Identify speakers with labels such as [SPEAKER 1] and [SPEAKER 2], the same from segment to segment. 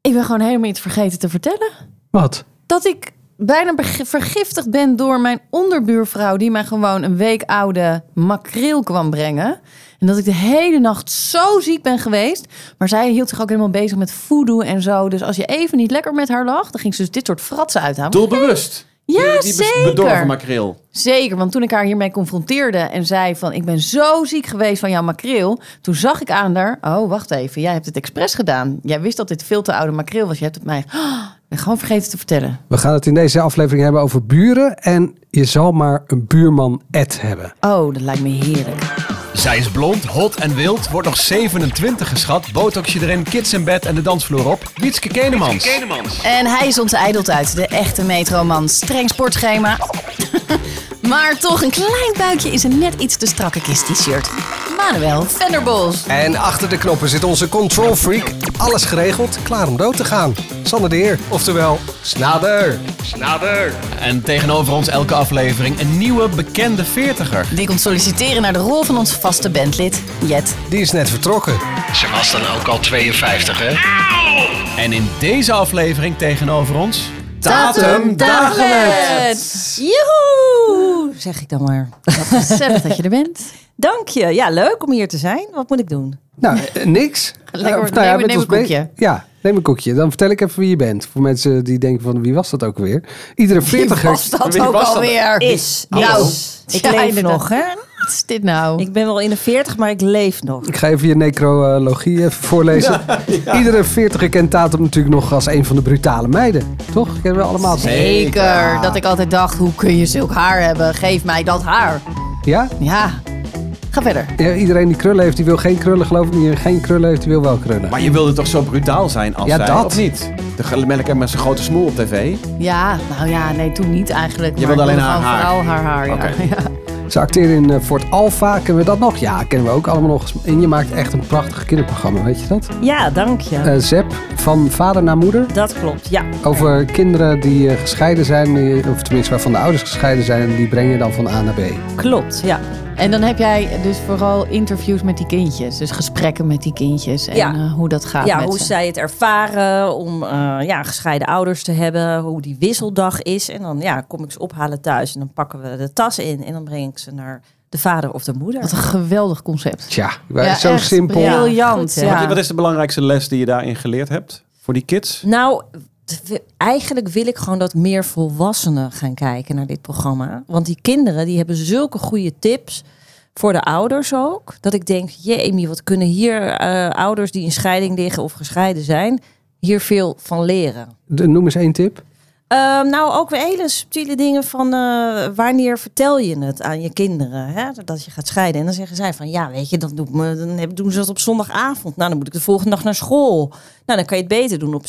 [SPEAKER 1] Ik ben gewoon helemaal iets vergeten te vertellen.
[SPEAKER 2] Wat?
[SPEAKER 1] Dat ik bijna beg- vergiftigd ben door mijn onderbuurvrouw... die mij gewoon een week oude makreel kwam brengen. En dat ik de hele nacht zo ziek ben geweest. Maar zij hield zich ook helemaal bezig met voodoo en zo. Dus als je even niet lekker met haar lag... dan ging ze dus dit soort fratsen uithalen.
[SPEAKER 3] Doelbewust.
[SPEAKER 1] ja,
[SPEAKER 3] die bes-
[SPEAKER 1] zeker.
[SPEAKER 3] bedorven makreel.
[SPEAKER 1] Zeker, want toen ik haar hiermee confronteerde en zei van... ik ben zo ziek geweest van jouw makreel... toen zag ik aan haar... oh, wacht even, jij hebt het expres gedaan. Jij wist dat dit veel te oude makreel was. Je hebt het mij... Oh, ik ben gewoon vergeten te vertellen.
[SPEAKER 2] We gaan het in deze aflevering hebben over buren. En je zal maar een buurman Ed hebben.
[SPEAKER 1] Oh, dat lijkt me heerlijk.
[SPEAKER 4] Zij is blond, hot en wild, wordt nog 27 geschat. Botoxje erin, kids in bed en de dansvloer op. Wietske Kenemans.
[SPEAKER 1] En hij is onze uit, de echte metroman. Streng sportschema. maar toch, een klein buikje is een net iets te strakke kist t-shirt. Manuel Venderbos.
[SPEAKER 2] En achter de knoppen zit onze control freak. Alles geregeld, klaar om dood te gaan. Sander de Heer, oftewel Snader.
[SPEAKER 4] En tegenover ons elke aflevering een nieuwe bekende veertiger.
[SPEAKER 1] Die komt solliciteren naar de rol van ons vaste bandlid, Jet.
[SPEAKER 2] Die is net vertrokken.
[SPEAKER 4] Ze was dan ook al 52, hè? En in deze aflevering tegenover ons...
[SPEAKER 2] Tatum
[SPEAKER 1] Dagelet! Joehoe! Zeg ik dan maar. Wat gezellig dat je er bent.
[SPEAKER 5] Dank je. Ja, leuk om hier te zijn. Wat moet ik doen?
[SPEAKER 2] Nou, eh, niks.
[SPEAKER 1] Lekker,
[SPEAKER 2] Eh, of
[SPEAKER 1] neem-
[SPEAKER 2] jij bent
[SPEAKER 1] neem
[SPEAKER 2] ons
[SPEAKER 1] een
[SPEAKER 2] be-
[SPEAKER 1] koekje.
[SPEAKER 2] Ja, neem een koekje. Dan vertel ik even wie je bent. Voor mensen die denken van wie was dat ook weer. Iedere
[SPEAKER 1] Was
[SPEAKER 2] veertiger...
[SPEAKER 1] dat
[SPEAKER 3] Wie
[SPEAKER 1] ook
[SPEAKER 3] was dat?
[SPEAKER 1] alweer?
[SPEAKER 5] Is.
[SPEAKER 1] Hallo.
[SPEAKER 5] Is. Ik
[SPEAKER 1] Ja,
[SPEAKER 5] leef
[SPEAKER 1] Nou, inderdaad.
[SPEAKER 5] nog, hè?
[SPEAKER 1] Wat is dit nou?
[SPEAKER 5] Ik ben wel in de 40, maar ik leef nog.
[SPEAKER 2] Ik ga even je necrologie even voorlezen. Iedere veertiger kent Tatum natuurlijk nog als een van de brutale meiden. Toch? Kennen we allemaal.
[SPEAKER 1] Zeker. Dat ik altijd dacht, hoe kun je zulk haar hebben? Geef mij dat haar.
[SPEAKER 2] Ja?
[SPEAKER 1] Ja. Ga verder.
[SPEAKER 2] Ja, iedereen die krullen heeft, die wil geen krullen, geloof ik niet. En geen krullen heeft, die wil wel krullen.
[SPEAKER 3] Maar je wilde toch zo brutaal zijn als
[SPEAKER 2] Ja,
[SPEAKER 3] zij,
[SPEAKER 2] dat.
[SPEAKER 3] of niet? De ge- melker met zijn grote smoel op tv.
[SPEAKER 1] Ja, nou ja, nee, toen niet eigenlijk.
[SPEAKER 3] Je
[SPEAKER 1] maar
[SPEAKER 3] wilde
[SPEAKER 1] ik
[SPEAKER 3] alleen haar
[SPEAKER 1] gewoon
[SPEAKER 3] haar.
[SPEAKER 1] Vooral haar haar, ja.
[SPEAKER 3] Oké.
[SPEAKER 1] Ja.
[SPEAKER 2] Ze acteren in eh, Fort Alpha. Kennen we dat nog? Ja, kennen we ook allemaal nog. eens. En je maakt echt een prachtig kinderprogramma, weet je dat?
[SPEAKER 5] Ja, dank je.
[SPEAKER 2] Eh Zep, van vader naar moeder.
[SPEAKER 5] dat klopt, ja.
[SPEAKER 2] Over kinderen die eh, gescheiden zijn, eh, of tenminste waarvan de ouders gescheiden zijn. En die breng je dan van A naar B.
[SPEAKER 5] Klopt, ja.
[SPEAKER 1] En dan heb jij dus vooral interviews met die kindjes. Dus gesprekken met die kindjes. En
[SPEAKER 5] Ja.
[SPEAKER 1] eh, hoe dat gaat
[SPEAKER 5] Ja,
[SPEAKER 1] met
[SPEAKER 5] hoe
[SPEAKER 1] ze.
[SPEAKER 5] zij het ervaren om eh, ja, gescheiden ouders te hebben. Hoe die wisseldag is. En dan ja, kom ik ze ophalen thuis. En dan pakken we de tas in. En dan breng ik ze naar de vader of de moeder.
[SPEAKER 1] Wat een geweldig concept.
[SPEAKER 2] Tja, wij- zo
[SPEAKER 1] echt
[SPEAKER 2] simpel.
[SPEAKER 5] Ja.
[SPEAKER 1] Briljant.
[SPEAKER 5] Goed,
[SPEAKER 1] ja.
[SPEAKER 5] ja.
[SPEAKER 3] Wat is de belangrijkste les die je daarin geleerd hebt? Voor die kids?
[SPEAKER 5] Nou, t- eigenlijk wil ik gewoon dat meer volwassenen gaan kijken naar dit programma. Want die kinderen die hebben zulke goede tips voor de ouders ook. Dat ik denk, jemie, wat kunnen hier eh, ouders die in scheiding liggen of gescheiden zijn, hier veel van leren.
[SPEAKER 2] De- Noem eens één tip.
[SPEAKER 5] Ehm, nou, ook weer hele subtiele dingen van eh, wanneer vertel je het aan je kinderen hè, dat je gaat scheiden. En dan zeggen zij van ja, weet je, dat doet me, dan heb- doen ze dat op zondagavond. Nou, dan moet ik de volgende dag naar school. Nou, dan kan je het beter doen op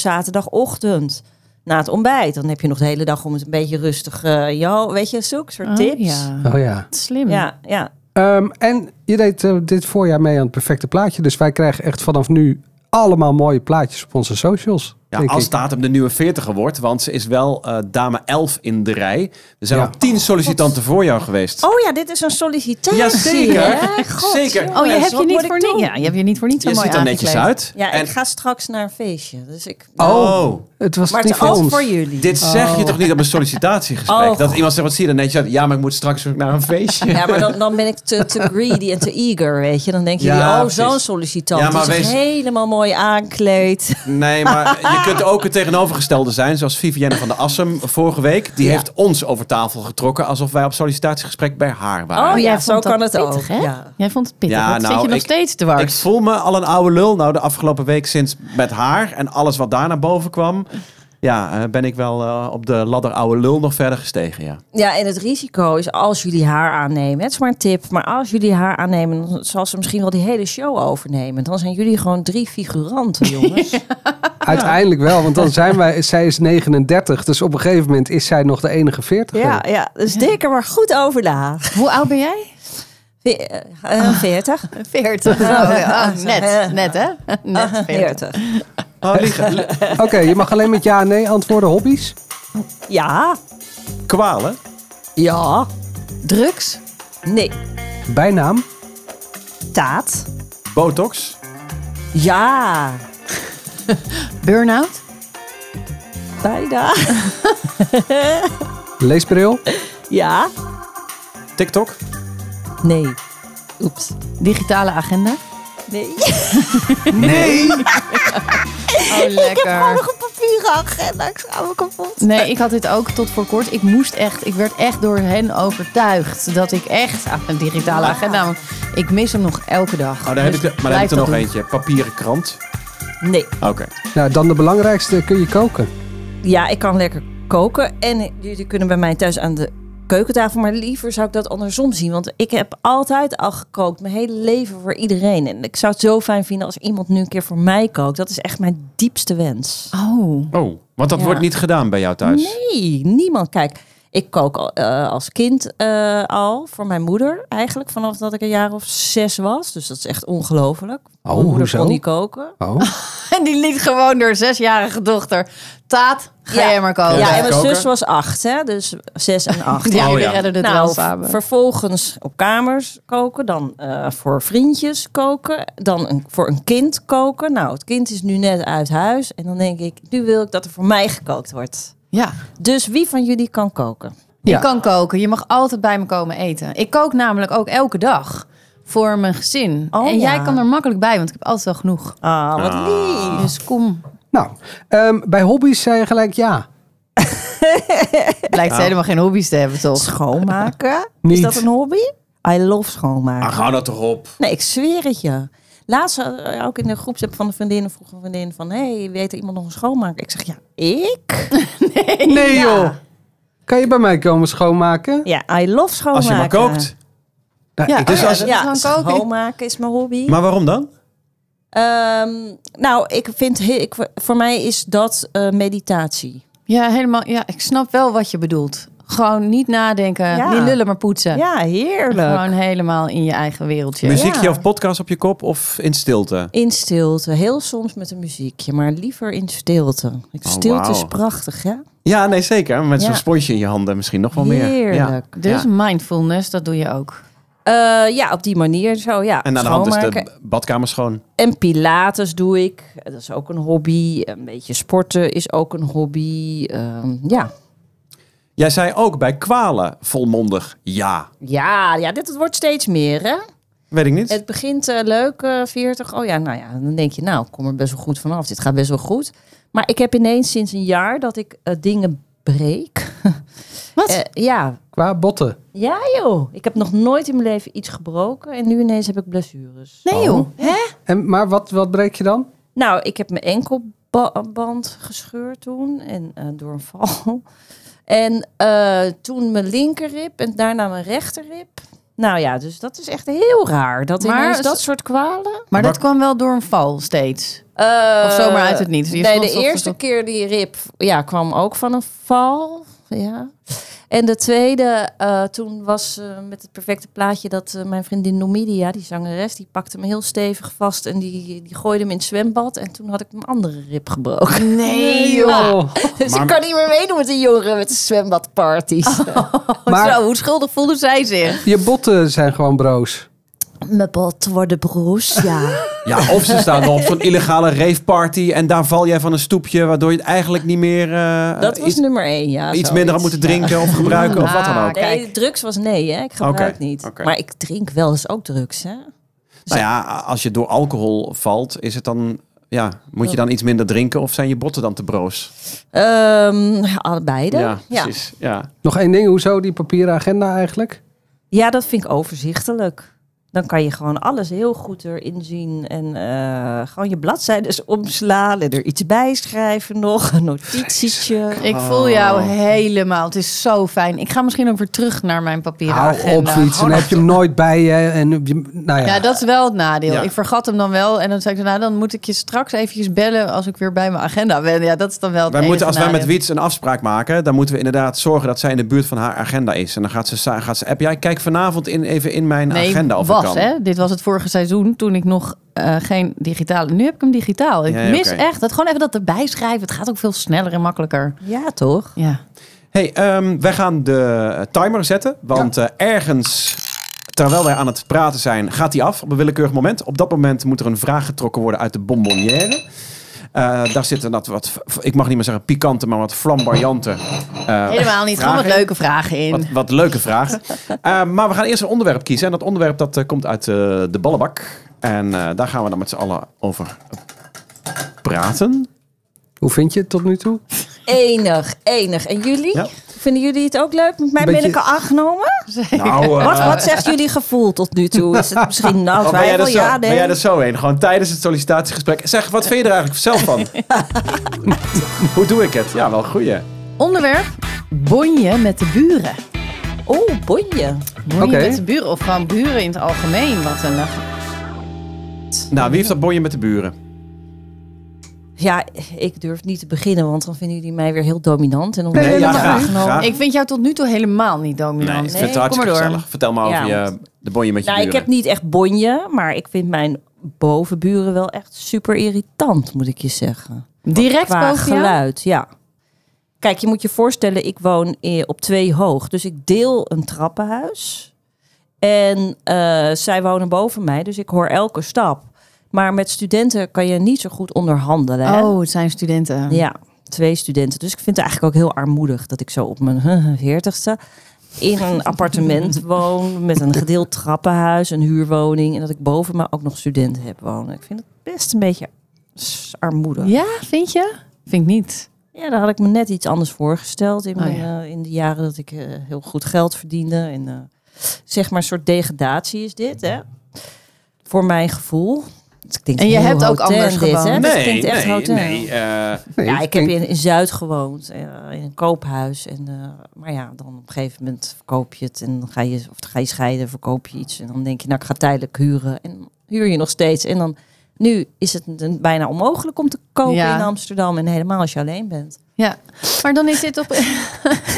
[SPEAKER 5] zaterdagochtend na het ontbijt. Dan heb je nog de hele dag om het een beetje rustig, eh joh, weet je, zulke soort
[SPEAKER 1] Oh,
[SPEAKER 5] tips.
[SPEAKER 1] ja.
[SPEAKER 2] Oh ja.
[SPEAKER 1] Slim.
[SPEAKER 5] ja, ja.
[SPEAKER 2] Ehm, en je deed eh, dit voorjaar mee aan het perfecte plaatje. Dus wij krijgen echt vanaf nu allemaal mooie plaatjes op onze socials.
[SPEAKER 3] Ja,
[SPEAKER 2] denk
[SPEAKER 3] als
[SPEAKER 2] ik.
[SPEAKER 3] Tatum de nieuwe veertiger wordt, want ze is wel eh, dame 11 in de rij. Er zijn
[SPEAKER 2] Ja.
[SPEAKER 3] al 10 sollicitanten voor jou geweest.
[SPEAKER 5] Oh ja, dit is een sollicitatie.
[SPEAKER 3] Jazeker.
[SPEAKER 5] hè? God,
[SPEAKER 3] Zeker.
[SPEAKER 5] jongens,
[SPEAKER 1] Oh, je hebt
[SPEAKER 5] dus wat
[SPEAKER 1] je,
[SPEAKER 5] moet
[SPEAKER 1] niet
[SPEAKER 5] ik
[SPEAKER 1] voor
[SPEAKER 5] doen?
[SPEAKER 1] niet, ja, je hebt je niet voor niet zo
[SPEAKER 3] je
[SPEAKER 1] mooi
[SPEAKER 3] ziet er netjes
[SPEAKER 1] aangekleed.
[SPEAKER 3] uit.
[SPEAKER 5] Ja,
[SPEAKER 3] En-
[SPEAKER 5] ik ga straks naar een feestje. Dus ik...
[SPEAKER 3] Oh,
[SPEAKER 2] Het was
[SPEAKER 5] Maar het
[SPEAKER 2] niet
[SPEAKER 5] is
[SPEAKER 2] voor
[SPEAKER 5] ook
[SPEAKER 2] ons.
[SPEAKER 5] voor jullie.
[SPEAKER 3] dit zeg je toch niet op een sollicitatiegesprek?
[SPEAKER 5] Oh,
[SPEAKER 3] dat
[SPEAKER 5] God.
[SPEAKER 3] iemand zegt, wat zie je er netjes uit? Ja, maar ik moet straks ook naar een feestje.
[SPEAKER 5] Ja, maar dan, dan ben ik te, te greedy en te eager, weet je. Dan denk je,
[SPEAKER 3] Ja,
[SPEAKER 5] oh,
[SPEAKER 3] precies.
[SPEAKER 5] zo'n sollicitant.
[SPEAKER 3] Ja,
[SPEAKER 5] Ja,
[SPEAKER 3] maar
[SPEAKER 5] maar
[SPEAKER 3] wees-
[SPEAKER 5] helemaal mooi aankleed.
[SPEAKER 3] Nee, maar je kunt ook het tegenovergestelde zijn. Zoals Vivienne van der Assem vorige week. Die
[SPEAKER 5] Ja.
[SPEAKER 3] heeft ons over tafel getrokken. Alsof wij op sollicitatiegesprek bij haar waren.
[SPEAKER 5] Oh,
[SPEAKER 1] jij
[SPEAKER 5] ja,
[SPEAKER 1] vond
[SPEAKER 5] zo
[SPEAKER 1] dat
[SPEAKER 5] kan het
[SPEAKER 1] pittig,
[SPEAKER 5] ook.
[SPEAKER 1] Hè?
[SPEAKER 5] Ja.
[SPEAKER 1] Jij vond het pittig.
[SPEAKER 3] Ja,
[SPEAKER 1] dat
[SPEAKER 3] nou,
[SPEAKER 1] zit je nog
[SPEAKER 3] ik-
[SPEAKER 1] steeds te
[SPEAKER 3] Ik
[SPEAKER 1] warm.
[SPEAKER 3] voel me al een oude lul. Nou, de afgelopen week sinds met haar en alles wat daar naar boven kwam. Ja, eh, ben ik wel eh, op de ladder oude lul nog verder gestegen, ja.
[SPEAKER 5] Ja, en het risico is als jullie haar aannemen. Het is maar een tip, maar als jullie haar aannemen... dan zal ze misschien wel die hele show overnemen. Dan zijn jullie gewoon drie figuranten, jongens.
[SPEAKER 2] Uiteindelijk wel, want dan zijn wij, zij is 39, dus op een gegeven moment is zij nog de enige 40.
[SPEAKER 5] ja, ja, dus denk er maar goed over na.
[SPEAKER 1] Hoe oud ben jij?
[SPEAKER 5] Ve- eh, eh, 40?
[SPEAKER 1] 40. Oh, ja. Oh, net, net hè? Net 40.
[SPEAKER 5] 40.
[SPEAKER 3] Oh, liegen. Li-
[SPEAKER 2] Oké, je mag alleen met ja en nee antwoorden hobby's.
[SPEAKER 5] Ja,
[SPEAKER 3] Kwalen?
[SPEAKER 5] ja,
[SPEAKER 1] Drugs?
[SPEAKER 5] nee.
[SPEAKER 2] Bijnaam,
[SPEAKER 5] Taat?
[SPEAKER 3] Botox?
[SPEAKER 5] Ja,
[SPEAKER 1] Burn-out?
[SPEAKER 5] Bijna.
[SPEAKER 2] Leesbril?
[SPEAKER 5] Ja?
[SPEAKER 3] TikTok?
[SPEAKER 5] Nee. Oeps.
[SPEAKER 1] Digitale agenda.
[SPEAKER 5] Oh, Nee.
[SPEAKER 3] Nee.
[SPEAKER 1] Oh,
[SPEAKER 5] Gewoon
[SPEAKER 1] lekker.
[SPEAKER 5] nog een papieren agenda. Ik schaam me kapot.
[SPEAKER 1] Nee, ik had dit ook tot voor kort. Ik moest echt, ik werd echt door hen overtuigd dat ik echt aan een digitale agenda. moet. Ik mis hem nog elke dag.
[SPEAKER 3] Oh, daar heb ik
[SPEAKER 1] Dus
[SPEAKER 3] er, maar daar heb
[SPEAKER 1] blijf
[SPEAKER 3] ik er
[SPEAKER 1] dat doen.
[SPEAKER 3] nog eentje. Papieren krant.
[SPEAKER 5] Nee.
[SPEAKER 3] Oké.
[SPEAKER 2] Nou, dan de belangrijkste. Kun je koken?
[SPEAKER 5] Ja, ik kan lekker koken. En jullie kunnen bij mij thuis aan de keukentafel. Maar liever zou ik dat andersom zien. Want ik heb altijd al gekookt. Mijn hele leven voor iedereen. En ik zou het zo fijn vinden als iemand nu een keer voor mij kookt. Dat is echt mijn diepste wens.
[SPEAKER 1] Oh,
[SPEAKER 3] Oh, want dat
[SPEAKER 1] Ja.
[SPEAKER 3] wordt niet gedaan bij jou thuis.
[SPEAKER 5] Nee, niemand. Kijk, ik kook al, eh, als kind eh, al voor mijn moeder. Eigenlijk vanaf dat ik een jaar of zes was. Dus dat is echt ongelooflijk. mijn moeder
[SPEAKER 2] hoezo?
[SPEAKER 5] kon niet koken.
[SPEAKER 2] Oh.
[SPEAKER 1] en die liet gewoon door zesjarige dochter. Taat, ga jij maar komen.
[SPEAKER 5] Ja,
[SPEAKER 3] Ja,
[SPEAKER 5] en mijn
[SPEAKER 3] koken.
[SPEAKER 5] zus was acht, hè? dus zes en acht.
[SPEAKER 1] Ja,
[SPEAKER 5] Nou,
[SPEAKER 1] Nou,
[SPEAKER 3] Oh,
[SPEAKER 1] jullie
[SPEAKER 3] ja.
[SPEAKER 1] redden het wel samen.
[SPEAKER 5] vervolgens op kamers koken, dan eh, voor vriendjes koken, dan een, voor een kind koken. Nou, het kind is nu net uit huis en dan denk ik, nu wil ik dat er voor mij gekookt wordt.
[SPEAKER 1] ja.
[SPEAKER 5] Dus wie van jullie kan koken?
[SPEAKER 1] Je kan koken. Je mag altijd bij me komen eten. Ik kook namelijk ook elke dag voor mijn gezin.
[SPEAKER 5] Oh,
[SPEAKER 1] en jij
[SPEAKER 5] ja.
[SPEAKER 1] kan er makkelijk bij, want ik heb altijd wel genoeg.
[SPEAKER 5] Ah, wat lief.
[SPEAKER 1] Dus kom.
[SPEAKER 2] Nou, ehm, bij hobby's zei je gelijk ja.
[SPEAKER 1] Blijkt helemaal geen hobby's te hebben, toch?
[SPEAKER 5] Schoonmaken?
[SPEAKER 2] Niet.
[SPEAKER 5] Is dat een hobby? I love schoonmaken.
[SPEAKER 3] Ah, hou dat toch op.
[SPEAKER 5] Nee, ik zweer het je. Laatst eh, ook in de groepsapp van de vriendinnen vroeg een vriendin van... hey, weet er iemand nog een schoonmaker? Ik zeg, ja, ik?
[SPEAKER 2] Nee joh. Kan je bij mij komen schoonmaken?
[SPEAKER 5] Ja, I love schoonmaken.
[SPEAKER 3] Als je maar kookt.
[SPEAKER 2] Nou,
[SPEAKER 1] Ja,
[SPEAKER 2] ik-
[SPEAKER 3] Dus
[SPEAKER 1] dus
[SPEAKER 3] als-
[SPEAKER 1] als, ja, dat is gewoon koken.
[SPEAKER 5] schoonmaken is mijn hobby.
[SPEAKER 3] Maar waarom dan?
[SPEAKER 5] Ehm, nou, ik vind, he- ik, voor mij is dat eh, meditatie.
[SPEAKER 1] Ja, helemaal. Ja, ik snap wel wat je bedoelt. Gewoon niet nadenken,
[SPEAKER 5] Ja.
[SPEAKER 1] niet lullen, maar poetsen.
[SPEAKER 5] Ja, heerlijk.
[SPEAKER 1] Gewoon helemaal in je eigen wereldje.
[SPEAKER 3] Muziekje
[SPEAKER 5] Ja.
[SPEAKER 3] of podcast op je kop of in stilte?
[SPEAKER 5] In stilte, heel soms met een muziekje, maar liever in stilte. Ik-
[SPEAKER 3] Oh,
[SPEAKER 5] Stilte
[SPEAKER 3] wauw.
[SPEAKER 5] is prachtig, hè?
[SPEAKER 3] Ja, nee, zeker. Met zo'n
[SPEAKER 5] Ja.
[SPEAKER 3] sponsje in je handen misschien nog wel meer. Ja.
[SPEAKER 5] Heerlijk.
[SPEAKER 1] Dus
[SPEAKER 3] Ja.
[SPEAKER 1] mindfulness, dat doe je ook.
[SPEAKER 5] Ja. Eh, ja, op die manier zo, ja.
[SPEAKER 3] En aan de hand is
[SPEAKER 5] schoonmaken.
[SPEAKER 3] de badkamer schoon.
[SPEAKER 5] En pilates doe ik. Dat is ook een hobby. Een beetje sporten is ook een hobby. Ehm, ja.
[SPEAKER 3] Jij zei ook bij kwalen volmondig ja.
[SPEAKER 5] Ja, ja, dit het wordt steeds meer, hè?
[SPEAKER 3] Weet ik niet.
[SPEAKER 5] Het begint eh, leuk, eh, 40. Oh ja, nou ja, dan denk je, nou, ik kom er best wel goed vanaf. Dit gaat best wel goed. Maar ik heb ineens sinds een jaar dat ik eh, dingen breek.
[SPEAKER 1] Wat?
[SPEAKER 5] Eh, ja.
[SPEAKER 2] Qua botten.
[SPEAKER 5] ja, joh. Ik heb nog nooit in mijn leven iets gebroken. En nu ineens heb ik blessures.
[SPEAKER 1] nee joh. Hè?
[SPEAKER 2] En, maar wat, wat breek je dan?
[SPEAKER 5] Nou, ik heb mijn enkelband gescheurd toen en eh, door een val. En eh, toen mijn linkerrib en daarna mijn rechterrib. Nou ja, dus dat is echt heel raar. Dat
[SPEAKER 1] Maar
[SPEAKER 5] ineens
[SPEAKER 1] is-
[SPEAKER 5] dat soort kwalen.
[SPEAKER 1] Maar dat kwam wel door een val steeds.
[SPEAKER 5] Eh,
[SPEAKER 1] Of zomaar uit het niets. Je
[SPEAKER 5] nee,
[SPEAKER 1] stond
[SPEAKER 5] de
[SPEAKER 1] ochtends
[SPEAKER 5] eerste
[SPEAKER 1] op-
[SPEAKER 5] keer die rib ja, kwam ook van een val. Ja. En de tweede, eh, toen was eh, met het perfecte plaatje dat eh, mijn vriendin Nomidia, die zangeres, die pakte hem heel stevig vast en die, die gooide hem in het zwembad. En toen had ik mijn andere rib gebroken.
[SPEAKER 1] Nee
[SPEAKER 2] Oh,
[SPEAKER 5] Dus
[SPEAKER 3] Maar- Oh.
[SPEAKER 5] ik kan niet meer meedoen met de jongeren met de zwembadparties.
[SPEAKER 1] Zo,
[SPEAKER 2] maar
[SPEAKER 1] hoe schuldig voelde zij zich?
[SPEAKER 2] je botten zijn gewoon broos.
[SPEAKER 5] Mijn bot worden broes, ja.
[SPEAKER 3] Ja, of ze staan op zo'n illegale raveparty en daar val jij van een stoepje, waardoor je het eigenlijk niet meer eh,
[SPEAKER 5] Dat was
[SPEAKER 3] iets,
[SPEAKER 5] nummer één, ja.
[SPEAKER 3] iets
[SPEAKER 5] zoiets.
[SPEAKER 3] minder had moeten
[SPEAKER 5] Ja.
[SPEAKER 3] drinken of gebruiken of wat dan ook.
[SPEAKER 1] Ah,
[SPEAKER 5] Nee,
[SPEAKER 1] Kijk.
[SPEAKER 5] drugs was nee, hè. Ik gebruik
[SPEAKER 3] Oké,
[SPEAKER 5] niet.
[SPEAKER 3] oké.
[SPEAKER 5] Maar ik drink wel eens ook drugs, hè.
[SPEAKER 3] Nou ja, als je door alcohol valt, is het dan, ja, moet je dan iets minder drinken of zijn je botten dan te broos?
[SPEAKER 5] Ehm allebei.
[SPEAKER 3] Ja,
[SPEAKER 5] Ja, ja.
[SPEAKER 3] precies. Ja.
[SPEAKER 2] Nog één ding, hoezo die papieren agenda eigenlijk?
[SPEAKER 5] ja, dat vind ik overzichtelijk. Dan kan je gewoon alles heel goed erin zien. En eh, gewoon je bladzijden omslaan en er iets bij schrijven nog. Een notitietje.
[SPEAKER 1] Ik voel jou
[SPEAKER 3] Oh.
[SPEAKER 1] helemaal. Het is zo fijn. Ik ga misschien ook weer terug naar mijn papieren
[SPEAKER 2] Hou op
[SPEAKER 1] agenda.
[SPEAKER 2] fiets, dan heb je hem nooit bij je. En, heb je- nou ja.
[SPEAKER 1] Ja, dat is wel het nadeel.
[SPEAKER 3] Ja.
[SPEAKER 1] Ik vergat hem dan wel. En dan zei ik, nou, dan moet ik je straks eventjes bellen als ik weer bij mijn agenda ben. Ja, dat is dan wel het
[SPEAKER 3] Wij moeten, als
[SPEAKER 1] enige
[SPEAKER 3] wij met
[SPEAKER 1] nadeel.
[SPEAKER 3] Wiets een afspraak maken, dan moeten we inderdaad zorgen dat zij in de buurt van haar agenda is. En dan gaat ze, sa- gaat ze app. Jij kijk vanavond in, even in mijn
[SPEAKER 1] nee,
[SPEAKER 3] agenda of ik
[SPEAKER 1] was,
[SPEAKER 3] kan.
[SPEAKER 1] hè? Dit was het vorige seizoen toen ik nog eh, geen digitale... Nu heb ik hem digitaal. Ik
[SPEAKER 3] Ja, ja,
[SPEAKER 1] mis
[SPEAKER 3] oké.
[SPEAKER 1] echt dat gewoon even dat erbij schrijven. Het gaat ook veel sneller en makkelijker.
[SPEAKER 5] Ja, toch?
[SPEAKER 1] Ja.
[SPEAKER 3] Hey, ehm, wij gaan de eh, timer zetten. Want eh, ergens, terwijl wij aan het praten zijn, gaat die af op een willekeurig moment. Op dat moment moet er een vraag getrokken worden uit de bonbonnière. Eh, daar zitten dat wat, ik mag niet meer zeggen pikante, maar wat flamboyante. eh,
[SPEAKER 1] Helemaal niet. Gewoon
[SPEAKER 3] vragen
[SPEAKER 1] wat
[SPEAKER 3] in.
[SPEAKER 1] leuke vragen in.
[SPEAKER 3] Wat, wat leuke vragen. Eh, maar we gaan eerst een onderwerp kiezen. En dat onderwerp dat, eh, komt uit eh, de ballenbak. En eh, daar gaan we dan met z'n allen over praten.
[SPEAKER 2] Hoe vind je het tot nu toe?
[SPEAKER 5] Enig, enig. En jullie?
[SPEAKER 3] Ja.
[SPEAKER 5] Vinden jullie het ook leuk? Met mij ben
[SPEAKER 2] Beetje-
[SPEAKER 5] ik al aangenomen.
[SPEAKER 3] Nou, eh,
[SPEAKER 5] Wat, wat zegt jullie gevoel tot nu toe? Is het misschien nou
[SPEAKER 3] oh, ben, jij er
[SPEAKER 5] twijfel?
[SPEAKER 3] zo,
[SPEAKER 5] Ja,
[SPEAKER 3] ben jij dus-
[SPEAKER 5] nee.
[SPEAKER 3] er zo heen? Gewoon tijdens het sollicitatiegesprek. Zeg, wat vind je er eigenlijk zelf van? Hoe doe ik het? Ja, wel goeie.
[SPEAKER 1] Onderwerp: bonje met de buren.
[SPEAKER 5] Oh, bonje.
[SPEAKER 1] Bonje
[SPEAKER 2] Oké.
[SPEAKER 1] met de buren of gewoon buren in het algemeen. Wat een. eh,
[SPEAKER 3] Nou, wie heeft dat bonje met de buren?
[SPEAKER 5] Ja, ik durf niet te beginnen, want dan vinden jullie mij weer heel dominant. En onwillig
[SPEAKER 3] Nee, ja,
[SPEAKER 5] aangenomen.
[SPEAKER 3] graag, graag.
[SPEAKER 1] Ik vind jou tot nu toe helemaal niet
[SPEAKER 3] Ah. Nee, ik
[SPEAKER 1] dominant.
[SPEAKER 3] vind het
[SPEAKER 1] Kom maar
[SPEAKER 3] hartstikke
[SPEAKER 1] door.
[SPEAKER 3] gezellig. Vertel me over
[SPEAKER 5] Ja,
[SPEAKER 3] je, de bonje met je
[SPEAKER 5] Nou, ik
[SPEAKER 3] buren.
[SPEAKER 5] heb niet echt bonje, maar ik vind mijn bovenburen wel echt super irritant, moet ik je zeggen.
[SPEAKER 1] Direct
[SPEAKER 5] Qua
[SPEAKER 1] boven jou?
[SPEAKER 5] geluid, ja. Kijk, je moet je voorstellen, ik woon eh, op twee hoog. Dus ik deel een trappenhuis. En eh, zij wonen boven mij, dus ik hoor elke stap. Maar met studenten kan je niet zo goed onderhandelen. hè?
[SPEAKER 1] Oh, het zijn studenten.
[SPEAKER 5] Ja, twee studenten. Dus ik vind het eigenlijk ook heel armoedig dat ik zo op mijn veertigste in een appartement woon met een gedeeld trappenhuis, een huurwoning en dat ik boven me ook nog studenten heb wonen. Ik vind het best een beetje s- armoedig.
[SPEAKER 1] Ja, vind je? Vind ik niet.
[SPEAKER 5] Ja, daar had ik me net iets anders voorgesteld in,
[SPEAKER 1] Oh,
[SPEAKER 5] mijn,
[SPEAKER 1] ja.
[SPEAKER 5] eh, in de jaren dat ik eh, heel goed geld verdiende. En eh, zeg maar een soort degradatie is dit, hè? Voor mijn gevoel. Dus Het klinkt
[SPEAKER 1] En je
[SPEAKER 5] heel
[SPEAKER 1] hebt ook
[SPEAKER 5] hautaine
[SPEAKER 1] anders
[SPEAKER 5] dit, hè?
[SPEAKER 1] gewoond.
[SPEAKER 5] Het
[SPEAKER 3] Nee,
[SPEAKER 5] klinkt echt
[SPEAKER 3] nee,
[SPEAKER 5] hautaine.
[SPEAKER 3] nee. eh,
[SPEAKER 2] Nee,
[SPEAKER 5] Ja,
[SPEAKER 2] ik
[SPEAKER 5] ik heb
[SPEAKER 2] denk-
[SPEAKER 5] in, in Zuid gewoond, eh, in een koophuis. En, eh, maar ja, dan op een gegeven moment verkoop je het en dan ga je, of dan ga je scheiden, verkoop je iets. En dan denk je, nou, ik ga tijdelijk huren. En dan huur je nog steeds. En dan, nu is het een- bijna onmogelijk om te kopen
[SPEAKER 1] Ja.
[SPEAKER 5] in Amsterdam. En helemaal als je alleen bent.
[SPEAKER 1] Ja, maar dan is dit op.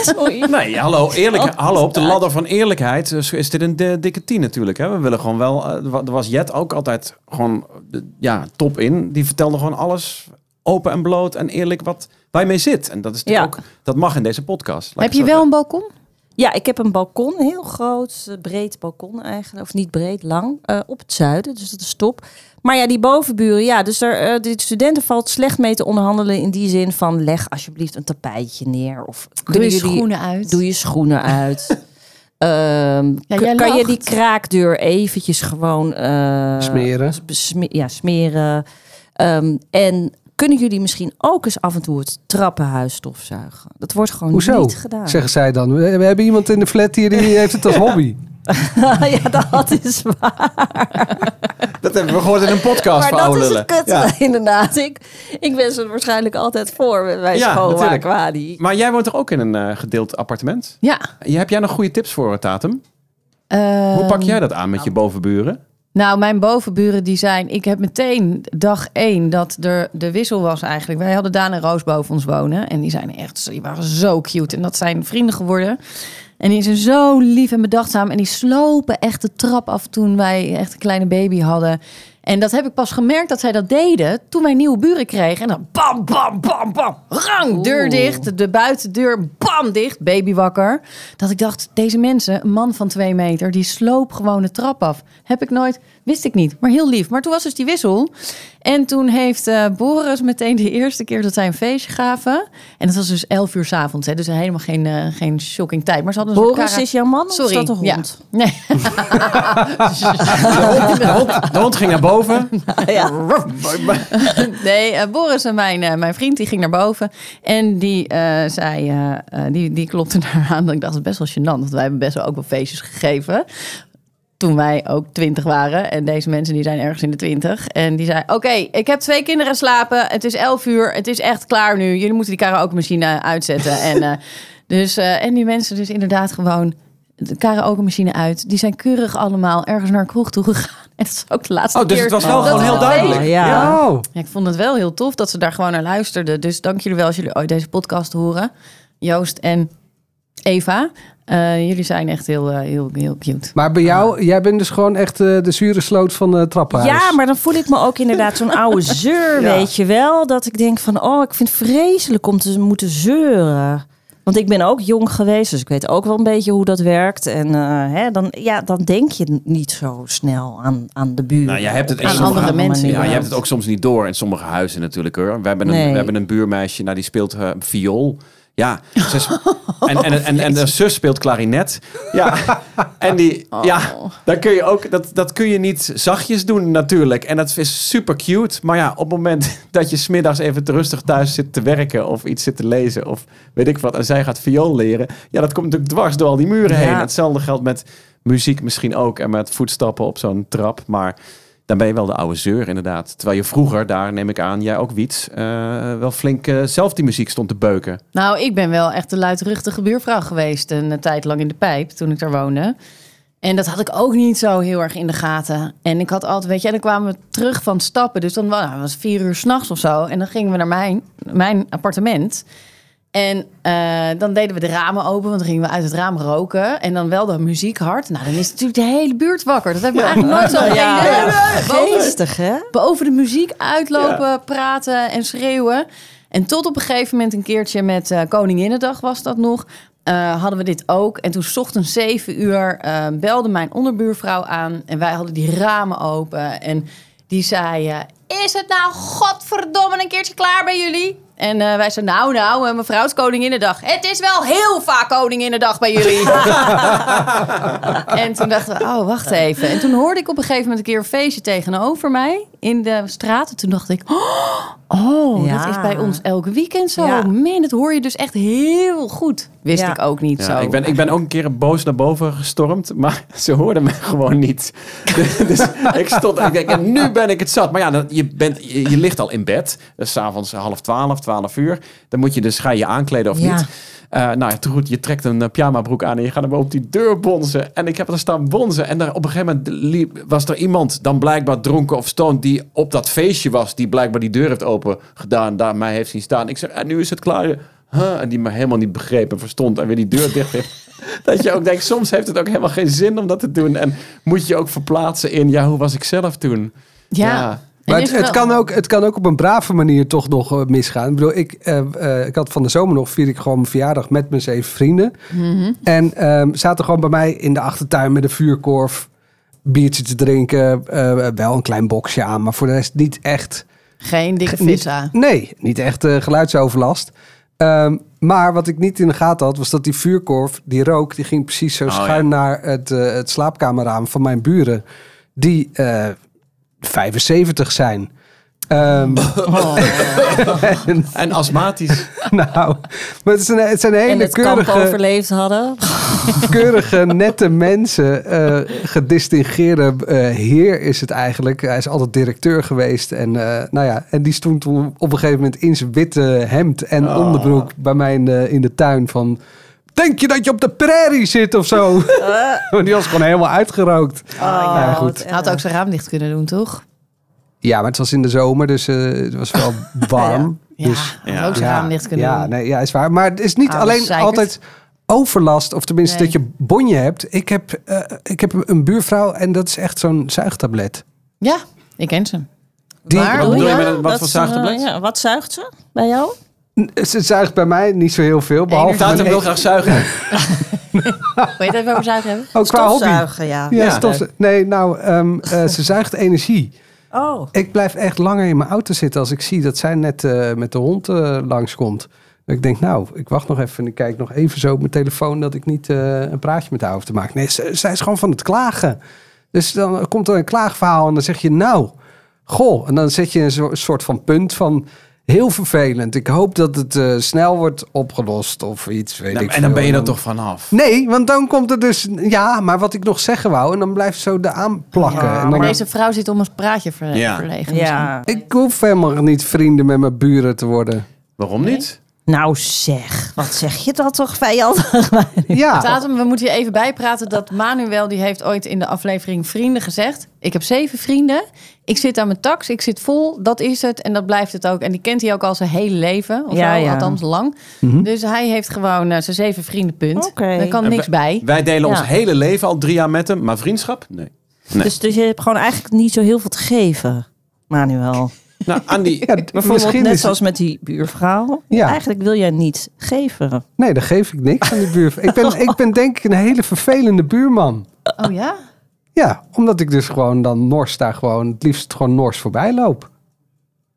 [SPEAKER 5] Sorry.
[SPEAKER 3] Nee, hallo, eerlijk,
[SPEAKER 5] Oh.
[SPEAKER 3] hallo, op de ladder van eerlijkheid is, is dit een di- dikke tien natuurlijk. Hè? We willen gewoon wel, eh, wa- er was Jet ook altijd gewoon eh, ja, top in. Die vertelde gewoon alles open en bloot en eerlijk wat waar je mee zit. En dat, is natuurlijk
[SPEAKER 5] Ja.
[SPEAKER 3] ook, dat mag in deze podcast. laat
[SPEAKER 1] Heb
[SPEAKER 3] ik
[SPEAKER 1] je
[SPEAKER 3] het
[SPEAKER 1] wel
[SPEAKER 3] zo
[SPEAKER 1] een balkon?
[SPEAKER 5] Ja, ik heb een balkon, een heel groot, eh, breed balkon eigenlijk. Of niet breed, lang, eh, op het zuiden. Dus dat is top. Maar ja, die bovenburen, ja. Dus er, eh, de studenten valt slecht mee te onderhandelen in die zin van... leg alsjeblieft een tapijtje neer. Of
[SPEAKER 1] Doe je
[SPEAKER 5] kunnen jullie-
[SPEAKER 1] schoenen uit.
[SPEAKER 5] Doe je schoenen uit. Ehm,
[SPEAKER 1] Ja,
[SPEAKER 5] k-
[SPEAKER 1] jij
[SPEAKER 5] kan je
[SPEAKER 1] lacht.
[SPEAKER 5] die kraakdeur eventjes gewoon... eh,
[SPEAKER 2] Smeren.
[SPEAKER 5] besme- ja, smeren. Ehm, en kunnen jullie misschien ook eens af en toe het trappenhuis stofzuigen? Dat wordt gewoon
[SPEAKER 2] Hoezo?
[SPEAKER 5] niet gedaan.
[SPEAKER 2] Zeggen zij dan. We, we hebben iemand in de flat hier die heeft het als hobby.
[SPEAKER 5] ja, dat is waar.
[SPEAKER 3] zeggen. Dat hebben we gehoord in een podcast
[SPEAKER 5] Maar
[SPEAKER 3] van
[SPEAKER 5] dat
[SPEAKER 3] oude
[SPEAKER 5] is
[SPEAKER 3] lullen.
[SPEAKER 5] het kut,
[SPEAKER 3] Ja.
[SPEAKER 5] inderdaad. Ik, ik ben ze waarschijnlijk altijd voor bij- bij
[SPEAKER 3] Ja,
[SPEAKER 5] schoonmaak,
[SPEAKER 3] natuurlijk.
[SPEAKER 5] Wadi.
[SPEAKER 3] Maar jij woont toch ook in een eh, gedeeld appartement?
[SPEAKER 1] Ja.
[SPEAKER 3] Je- Heb jij nog goede tips voor, Tatum?
[SPEAKER 1] Eh,
[SPEAKER 3] Hoe pak
[SPEAKER 5] Ehm,
[SPEAKER 3] jij dat aan met je bovenburen?
[SPEAKER 1] Nou, mijn bovenburen die zijn... Ik heb meteen dag één dat er de wissel was eigenlijk. Wij hadden Daan en Roos boven ons wonen. En die zijn echt... Die waren zo cute. En dat zijn vrienden geworden. En die zijn zo lief en bedachtzaam. En die slopen echt de trap af toen wij echt een kleine baby hadden. En dat heb ik pas gemerkt dat zij dat deden toen wij nieuwe buren kregen. En dan bam, bam, bam, bam. Rang, deur
[SPEAKER 5] Oeh.
[SPEAKER 1] dicht. De buitendeur, bam, dicht. Baby wakker. Dat ik dacht, deze mensen, een man van twee meter, die sloop gewoon de trap af. Heb ik nooit, wist ik niet, maar heel lief. Maar toen was dus die wissel. En toen heeft eh, Boris meteen de eerste keer dat zij een feestje gaven. En dat was dus elf uur s'avonds, dus helemaal geen, eh, geen shocking tijd. Maar ze hadden een soort
[SPEAKER 5] Boris
[SPEAKER 1] kara-
[SPEAKER 5] is jouw man of is
[SPEAKER 1] Sorry,
[SPEAKER 5] dat een hond?
[SPEAKER 1] Ja. Nee.
[SPEAKER 3] De hond, de hond ging naar boven.
[SPEAKER 1] Nee, eh, Boris en mijn, eh, mijn vriend, die ging naar boven. En die eh, zei, eh, eh, die, die klopte naar aan. Dat ik dacht, het is best wel gênant. Want wij hebben best wel ook wel feestjes gegeven. Toen wij ook twintig waren. En deze mensen die zijn ergens in de twintig. En die zei, oké, ik heb twee kinderen slapen. Het is elf uur. Het is echt klaar nu. Jullie moeten die karaoke machine uitzetten. en, eh, dus, eh, en die mensen dus inderdaad gewoon de karaoke machine uit. Die zijn keurig allemaal ergens naar een kroeg toe gegaan. En dat is ook de laatste
[SPEAKER 3] Oh, dus
[SPEAKER 1] keer.
[SPEAKER 3] het was wel
[SPEAKER 1] dat
[SPEAKER 3] gewoon
[SPEAKER 1] we
[SPEAKER 3] heel
[SPEAKER 1] dat
[SPEAKER 3] duidelijk.
[SPEAKER 5] Ja.
[SPEAKER 2] Oh,
[SPEAKER 1] ja, ik vond het wel heel tof dat ze daar gewoon naar luisterden. Dus dank jullie wel als jullie ooit deze podcast horen. Joost en Eva. Eh, jullie zijn echt heel, eh, heel, heel cute.
[SPEAKER 2] maar bij jou, jij bent dus gewoon echt eh, de zure sloot van de trappenhuis.
[SPEAKER 5] Ja, maar dan voel ik me ook inderdaad zo'n oude zeur, weet je wel. Dat ik denk van, oh, ik vind het vreselijk om te moeten zeuren. Want ik ben ook jong geweest, dus ik weet ook wel een beetje hoe dat werkt. En eh, hè, dan, ja, dan denk je niet zo snel aan, aan de buren.
[SPEAKER 3] Nou, jij hebt het
[SPEAKER 5] Op
[SPEAKER 3] echt
[SPEAKER 5] een
[SPEAKER 3] soms-
[SPEAKER 5] andere
[SPEAKER 1] andere
[SPEAKER 5] manier.
[SPEAKER 1] mensen,
[SPEAKER 3] Ja, je hebt het ook soms niet door in sommige huizen natuurlijk hoor. We hebben een,
[SPEAKER 5] Nee.
[SPEAKER 3] we hebben een buurmeisje, nou, die speelt eh, viool. Ja, ze sp- en, en, en, en de zus speelt klarinet. Ja, en die, ja, daar kun je ook, dat, dat kun je niet zachtjes doen natuurlijk. En dat is super cute. Maar ja, op het moment dat je smiddags even te rustig thuis zit te werken of iets zit te lezen of weet ik wat, en zij gaat viool leren, ja, dat komt natuurlijk dwars door al die muren heen.
[SPEAKER 5] Ja.
[SPEAKER 3] Hetzelfde geldt met muziek misschien ook en met voetstappen op zo'n trap. Maar dan ben je wel de oude zeur inderdaad. Terwijl je vroeger, daar neem ik aan, jij ook Wiets, eh, wel flink eh, zelf die muziek stond te beuken.
[SPEAKER 1] Nou, ik ben wel echt de luidruchtige buurvrouw geweest een eh, tijd lang in de pijp toen ik daar woonde. En dat had ik ook niet zo heel erg in de gaten. En ik had altijd, weet je, en dan kwamen we terug van stappen. Dus dan wa- nou, was het vier uur s'nachts of zo. En dan gingen we naar mijn, mijn appartement. En eh, dan deden we de ramen open, want dan gingen we uit het raam roken. En dan wel de muziek hard. Nou, dan is natuurlijk de hele buurt wakker. Dat hebben we eigenlijk nooit zo gedaan. Boven-
[SPEAKER 5] Geestig, hè?
[SPEAKER 1] boven de muziek uitlopen, praten en schreeuwen. En tot op een gegeven moment een keertje met eh Koninginnedag was dat nog. eh, hadden we dit ook. En toen 's ochtends 7 uur eh, belde mijn onderbuurvrouw aan. En wij hadden die ramen open. En die zei, eh, is het nou godverdomme een keertje klaar bij jullie? En eh, wij zeiden, nou nou, eh, mevrouw, het is Koninginnedag. Het is wel heel vaak Koninginnedag bij jullie. En toen dachten we, oh, wacht even. En toen hoorde ik op een gegeven moment een keer een feestje tegenover mij in de straat. En toen dacht ik, oh,
[SPEAKER 5] Ja.
[SPEAKER 1] dat is bij ons elke weekend zo.
[SPEAKER 5] Ja.
[SPEAKER 1] Man, dat hoor je dus echt heel goed. Wist
[SPEAKER 5] Ja.
[SPEAKER 1] ik ook niet
[SPEAKER 3] Ja,
[SPEAKER 1] zo.
[SPEAKER 3] ik, ben, ik ben ook een keer boos naar boven gestormd, maar ze hoorden me gewoon niet. dus ik stond en ik denk, en nu ben ik het zat. Maar ja, dan, je, bent, je, je ligt al in bed, dus s'avonds half twaalf, twaalf uur. Dan moet je dus, ga je je aankleden of
[SPEAKER 5] Ja.
[SPEAKER 3] niet? Eh, nou ja, te goed, je trekt een pyjama broek aan en je gaat hem op die deur bonzen. En ik heb er staan bonzen. En daar op een gegeven moment liep- was er iemand dan blijkbaar dronken of stoned... die op dat feestje was, die blijkbaar die deur heeft open gedaan. Daar mij heeft zien staan. Ik zeg, en nu is het klaar. Huh? En die me helemaal niet begreep en verstond en weer die deur dicht heeft. Dat je ook denkt, soms heeft het ook helemaal geen zin om dat te doen. En moet je ook verplaatsen in, ja, hoe was ik zelf toen?
[SPEAKER 1] ja.
[SPEAKER 3] ja.
[SPEAKER 1] En
[SPEAKER 2] Maar
[SPEAKER 1] is
[SPEAKER 2] het, het,
[SPEAKER 1] wel-
[SPEAKER 2] kan ook, het kan ook op een brave manier toch nog eh, misgaan. Ik bedoel, ik, eh, eh, ik had van de zomer nog, vier ik gewoon mijn verjaardag met mijn zeven vrienden. En ehm, zaten gewoon bij mij in de achtertuin met een vuurkorf, biertje te drinken. eh, wel een klein boxje aan, maar voor de rest niet echt...
[SPEAKER 1] Geen dikke
[SPEAKER 2] Niet-
[SPEAKER 1] vis aan.
[SPEAKER 2] nee, niet echt eh, geluidsoverlast. Ehm, maar wat ik niet in de gaten had, was dat die vuurkorf, die rook, die ging precies zo
[SPEAKER 3] Oh,
[SPEAKER 2] schuin naar het, eh, het slaapkamerraam van mijn buren, die eh, 75 zijn. Ehm,
[SPEAKER 5] Oh.
[SPEAKER 2] en,
[SPEAKER 3] En astmatisch.
[SPEAKER 2] nou, maar het zijn, het zijn
[SPEAKER 5] En
[SPEAKER 2] hele
[SPEAKER 5] het kamp
[SPEAKER 2] keurige,
[SPEAKER 5] overleefd hadden.
[SPEAKER 2] keurige, nette mensen. eh gedistingeerde eh, heer is het eigenlijk. Hij is altijd directeur geweest. En, eh, nou ja, en die stond toen op een gegeven moment in zijn witte hemd en onderbroek bij mij in de, in de tuin van... Denk je dat je op de prairie zit of
[SPEAKER 1] Eh.
[SPEAKER 2] zo? Want die was gewoon helemaal uitgerookt.
[SPEAKER 1] Oh.
[SPEAKER 2] Nou ja, goed.
[SPEAKER 1] Had ook zijn raam dicht kunnen doen, toch?
[SPEAKER 2] ja, maar het was in de zomer, dus eh, het was wel warm.
[SPEAKER 1] Ja,
[SPEAKER 2] Dus
[SPEAKER 1] had ook zijn raam dicht kunnen
[SPEAKER 2] ja,
[SPEAKER 1] doen.
[SPEAKER 2] nee, ja, is waar. Maar het is niet
[SPEAKER 1] Ah,
[SPEAKER 2] alleen
[SPEAKER 1] zeikert.
[SPEAKER 2] altijd overlast, of tenminste
[SPEAKER 1] Nee.
[SPEAKER 2] dat je bonje hebt. Ik heb, eh, ik heb een buurvrouw en dat is echt zo'n zuigtablet.
[SPEAKER 1] Ja, ik ken ze.
[SPEAKER 2] Die-
[SPEAKER 1] Maar-
[SPEAKER 3] Wat
[SPEAKER 1] Oh,
[SPEAKER 3] bedoel je
[SPEAKER 1] ja,
[SPEAKER 3] met een- wat
[SPEAKER 5] Dat
[SPEAKER 3] voor
[SPEAKER 5] is, eh,
[SPEAKER 3] zuigtablet?
[SPEAKER 5] ja, wat zuigt ze bij jou?
[SPEAKER 2] Ze zuigt bij mij niet zo heel veel, behalve...
[SPEAKER 3] Tatum
[SPEAKER 2] mijn-
[SPEAKER 3] wil graag zuigen.
[SPEAKER 1] Weet je even over zuigen hebben?
[SPEAKER 2] Oh, qua hobby. Ja,
[SPEAKER 5] Stofzuigen, ja.
[SPEAKER 3] Ja.
[SPEAKER 2] stofzu- Nee, nou, ehm, eh, ze zuigt energie.
[SPEAKER 5] Oh.
[SPEAKER 2] Ik blijf echt langer in mijn auto zitten als ik zie dat zij net eh, met de hond langs langskomt. Ik denk, nou, ik wacht nog even en ik kijk nog even zo op mijn telefoon dat ik niet eh, een praatje met haar hoef te maken. Nee, ze- zij is gewoon van het klagen. Dus dan komt er een klaagverhaal en dan zeg je, nou, goh. En dan zet je een zo- soort van punt van, heel vervelend. Ik hoop dat het eh, snel wordt opgelost of iets, weet
[SPEAKER 3] Nou,
[SPEAKER 2] ik
[SPEAKER 3] en dan
[SPEAKER 2] veel.
[SPEAKER 3] ben je er toch vanaf.
[SPEAKER 2] Nee, want dan komt er dus, ja, maar wat ik nog zeggen wou. En dan blijft zo de aanplakken.
[SPEAKER 5] Ja,
[SPEAKER 2] en dan,
[SPEAKER 1] Maar deze vrouw zit om een praatje ver-
[SPEAKER 3] Ja.
[SPEAKER 1] verlegen. misschien.
[SPEAKER 5] Ja.
[SPEAKER 2] ik hoef helemaal niet vrienden met mijn buren te worden.
[SPEAKER 3] Waarom niet?
[SPEAKER 5] Nou zeg, wat zeg je dat toch vijandig? Ah.
[SPEAKER 2] Ja,
[SPEAKER 1] Tatum, we moeten je even bijpraten dat Manuel, die heeft ooit in de aflevering Vrienden gezegd. Ik heb zeven vrienden. Ik zit aan mijn tax. Ik zit vol. Dat is het. En dat blijft het ook. En die kent hij ook al zijn hele leven. Of
[SPEAKER 5] Ja,
[SPEAKER 1] zo,
[SPEAKER 5] ja. Mhm.
[SPEAKER 1] althans lang. Dus hij heeft gewoon eh, zijn zeven vrienden punt.
[SPEAKER 5] Oké.
[SPEAKER 1] Daar kan
[SPEAKER 3] En
[SPEAKER 1] niks
[SPEAKER 3] we-
[SPEAKER 1] bij.
[SPEAKER 3] Wij delen ons
[SPEAKER 5] Ja.
[SPEAKER 3] hele leven al drie jaar met hem, maar vriendschap? Nee.
[SPEAKER 5] Dus, dus je hebt gewoon eigenlijk niet zo heel veel te geven, Manuel.
[SPEAKER 3] Nou, Andy,
[SPEAKER 2] Ja,
[SPEAKER 5] Bijvoorbeeld
[SPEAKER 2] misschien
[SPEAKER 5] net
[SPEAKER 2] is
[SPEAKER 5] zoals met die buurvrouw.
[SPEAKER 2] Ja.
[SPEAKER 5] Eigenlijk wil jij niet geven.
[SPEAKER 2] Nee, dan geef ik niks aan die buurvrouw. Ik ben, ik ben denk ik een hele vervelende buurman.
[SPEAKER 1] Oh ja?
[SPEAKER 2] Ja, omdat ik dus gewoon dan nors daar gewoon het liefst gewoon nors voorbij loop.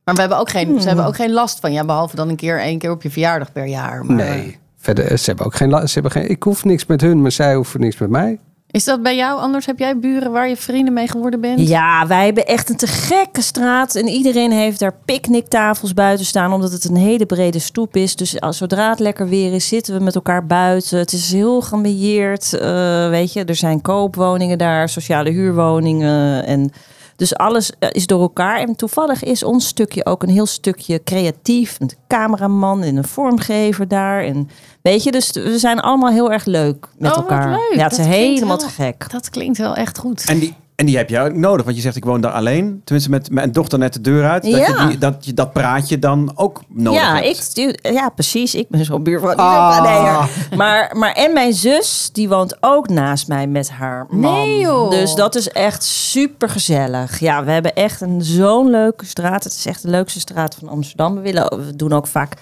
[SPEAKER 1] Maar we hebben ook geen,
[SPEAKER 5] Hmm.
[SPEAKER 1] ze hebben ook geen last van. Ja, behalve dan een keer één keer op je verjaardag per jaar. Maar, eh,
[SPEAKER 2] Nee, verder, eh, ze hebben ook geen, la- ze hebben geen... Ik hoef niks met hun, maar zij hoeven niks met mij.
[SPEAKER 1] Is dat bij jou anders? Heb jij buren waar je vrienden mee geworden bent?
[SPEAKER 5] Ja, wij hebben echt een te gekke straat. En iedereen heeft daar picknicktafels buiten staan. Omdat het een hele brede stoep is. Dus als, zodra het lekker weer is, zitten we met elkaar buiten. Het is heel gemilleerd. eh, weet je, er zijn koopwoningen daar, sociale huurwoningen. En dus alles eh, is door elkaar. En toevallig is ons stukje ook een heel stukje creatief. Met een cameraman en een vormgever daar. En weet je, dus we zijn allemaal heel erg leuk met
[SPEAKER 1] Oh, wat
[SPEAKER 5] elkaar.
[SPEAKER 1] leuk.
[SPEAKER 5] Ja, het is
[SPEAKER 1] Dat klinkt
[SPEAKER 5] helemaal
[SPEAKER 1] wel-
[SPEAKER 5] te gek.
[SPEAKER 1] Dat klinkt wel echt goed.
[SPEAKER 3] en die, en die heb je ook nodig. Want je zegt, ik woon daar alleen. Tenminste, met mijn dochter net de deur uit. Dat,
[SPEAKER 5] Ja.
[SPEAKER 3] je die, dat, je, dat praatje dan ook nodig
[SPEAKER 5] ja,
[SPEAKER 3] hebt.
[SPEAKER 5] ik, stu- ja, precies. Ik ben zo'n buurvrouw. die
[SPEAKER 2] Ah.
[SPEAKER 5] zegt, "Ah, nee, ja." maar, maar en mijn zus, die woont ook naast mij met haar man.
[SPEAKER 1] Nee, joh.
[SPEAKER 5] Dus dat is echt super gezellig. Ja, we hebben echt een zo'n leuke straat. Het is echt de leukste straat van Amsterdam. We, willen, we doen ook vaak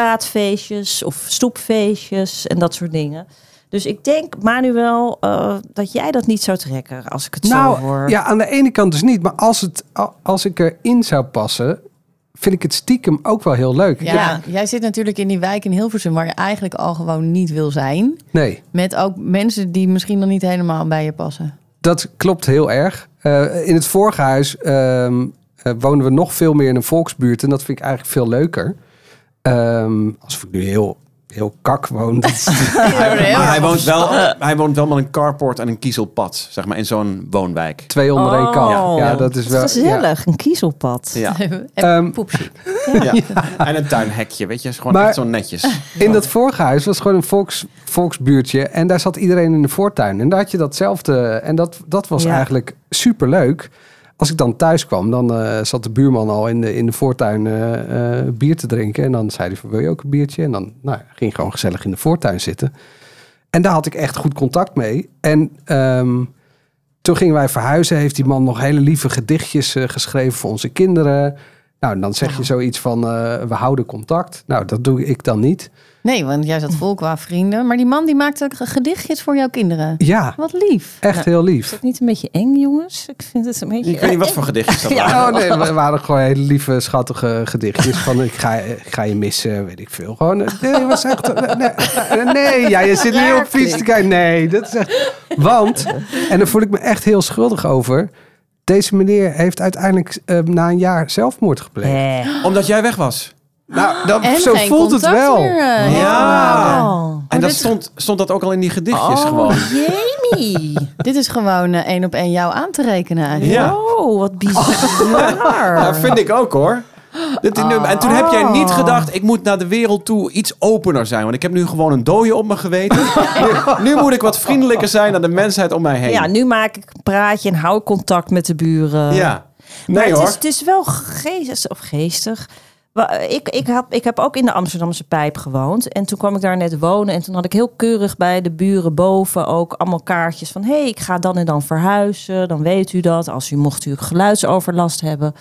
[SPEAKER 5] straatfeestjes of stoepfeestjes en dat soort dingen. Dus ik denk, Manuel, eh, dat jij dat niet zou trekken als ik het zo hoor.
[SPEAKER 2] Nou, ja, aan de ene kant dus niet. Maar als, het, a- als ik erin zou passen, vind ik het stiekem ook wel heel leuk.
[SPEAKER 1] Ja,
[SPEAKER 5] Ja.
[SPEAKER 1] jij zit natuurlijk in die wijk in Hilversum waar je eigenlijk al gewoon niet wil zijn.
[SPEAKER 2] Nee,
[SPEAKER 1] Met ook mensen die misschien dan niet helemaal bij je passen.
[SPEAKER 2] dat klopt heel erg. Eh, in het vorige huis ehm, eh, wonen we nog veel meer in een volksbuurt. En dat vind ik eigenlijk veel leuker. Ehm alsof ik nu heel, heel kak woon. Dat is-
[SPEAKER 3] Maar hij woont, wel,
[SPEAKER 5] Ah.
[SPEAKER 3] hij woont wel met een carport en een kiezelpad, zeg maar, in zo'n woonwijk.
[SPEAKER 2] twee onder één kap.
[SPEAKER 5] Oh,
[SPEAKER 2] ja, dat is wel. ja.
[SPEAKER 5] gezellig, een kiezelpad.
[SPEAKER 3] Ja.
[SPEAKER 2] Ehm,
[SPEAKER 1] eh, Poepsie.
[SPEAKER 3] Ja. En een tuinhekje, weet je, is gewoon
[SPEAKER 2] Maar-
[SPEAKER 3] echt zo netjes.
[SPEAKER 2] In dat vorige huis was gewoon een volks, volksbuurtje. En daar zat iedereen in de voortuin. En daar had je datzelfde. En dat, dat was
[SPEAKER 5] Ja.
[SPEAKER 2] eigenlijk superleuk. Als ik dan thuis kwam, dan eh, zat de buurman al in de, in de voortuin eh, eh, bier te drinken. En dan zei hij van, wil je ook een biertje? En dan nou, ging ik gewoon gezellig in de voortuin zitten. En daar had ik echt goed contact mee. En ehm, toen gingen wij verhuizen. Heeft die man nog hele lieve gedichtjes eh, geschreven voor onze kinderen. Nou, en dan zeg je zoiets van, eh, we houden contact. Nou, dat doe ik dan niet.
[SPEAKER 1] Nee, want jij zat vol qua vrienden. Maar die man die maakte ge- gedichtjes voor jouw kinderen.
[SPEAKER 2] Ja,
[SPEAKER 1] Wat lief.
[SPEAKER 2] echt heel lief.
[SPEAKER 5] Is dat niet een beetje eng, jongens? Ik vind het een beetje...
[SPEAKER 3] Ik weet niet wat voor gedichtjes dat waren.
[SPEAKER 2] Oh nee, we waren gewoon hele lieve, schattige gedichtjes. Van ik ga, ik ga je missen, weet ik veel. Gewoon, eh, nee, was echt... Nee, nee ja, je zit niet op fiets te kijken. Nee, dat is echt... Want, en daar voel ik me echt heel schuldig over... Deze meneer heeft uiteindelijk eh, na een jaar zelfmoord gepleegd.
[SPEAKER 5] Eh.
[SPEAKER 3] Omdat jij weg was.
[SPEAKER 2] Nou, dat,
[SPEAKER 1] En
[SPEAKER 2] zo
[SPEAKER 1] geen
[SPEAKER 2] voelt het
[SPEAKER 1] contact
[SPEAKER 2] wel.
[SPEAKER 1] meer, eh, heeft
[SPEAKER 3] Ja.
[SPEAKER 1] gemaakt.
[SPEAKER 5] Oh,
[SPEAKER 3] En dat
[SPEAKER 1] dit-
[SPEAKER 3] stond, stond dat ook al in die gedichtjes
[SPEAKER 5] Oh,
[SPEAKER 3] gewoon.
[SPEAKER 5] Jamie.
[SPEAKER 1] Dit is gewoon eh, één op één jou aan te rekenen eigenlijk.
[SPEAKER 3] Ja.
[SPEAKER 5] Oh, wat bizar.
[SPEAKER 3] Dat vind ik ook hoor. Dit nummer. En toen heb
[SPEAKER 5] Oh.
[SPEAKER 3] jij niet gedacht, ik moet naar de wereld toe iets opener zijn. Want ik heb nu gewoon een dooie op mijn geweten. Nu, nu moet ik wat vriendelijker zijn naar de mensheid om mij heen.
[SPEAKER 5] Ja, nu maak ik een praatje en hou ik contact met de buren.
[SPEAKER 3] Ja.
[SPEAKER 5] Maar
[SPEAKER 3] Nee
[SPEAKER 5] het,
[SPEAKER 3] hoor.
[SPEAKER 5] Is, het is wel geestig. Of geestig. Wa- Ik, ik, had, ik heb ook in de Amsterdamse pijp gewoond. En toen kwam ik daar net wonen. En toen had ik heel keurig bij de buren boven ook allemaal kaartjes van: hé, hey, ik ga dan en dan verhuizen. Dan weet u dat. Als u mocht u geluidsoverlast hebben.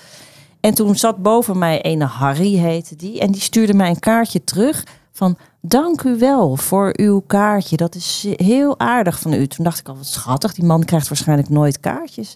[SPEAKER 5] En toen zat boven mij ene Harry, heette die. En die stuurde mij een kaartje terug van... Dank u wel voor uw kaartje. Dat is heel aardig van u. Toen dacht ik al, wat schattig. Die man krijgt waarschijnlijk nooit kaartjes.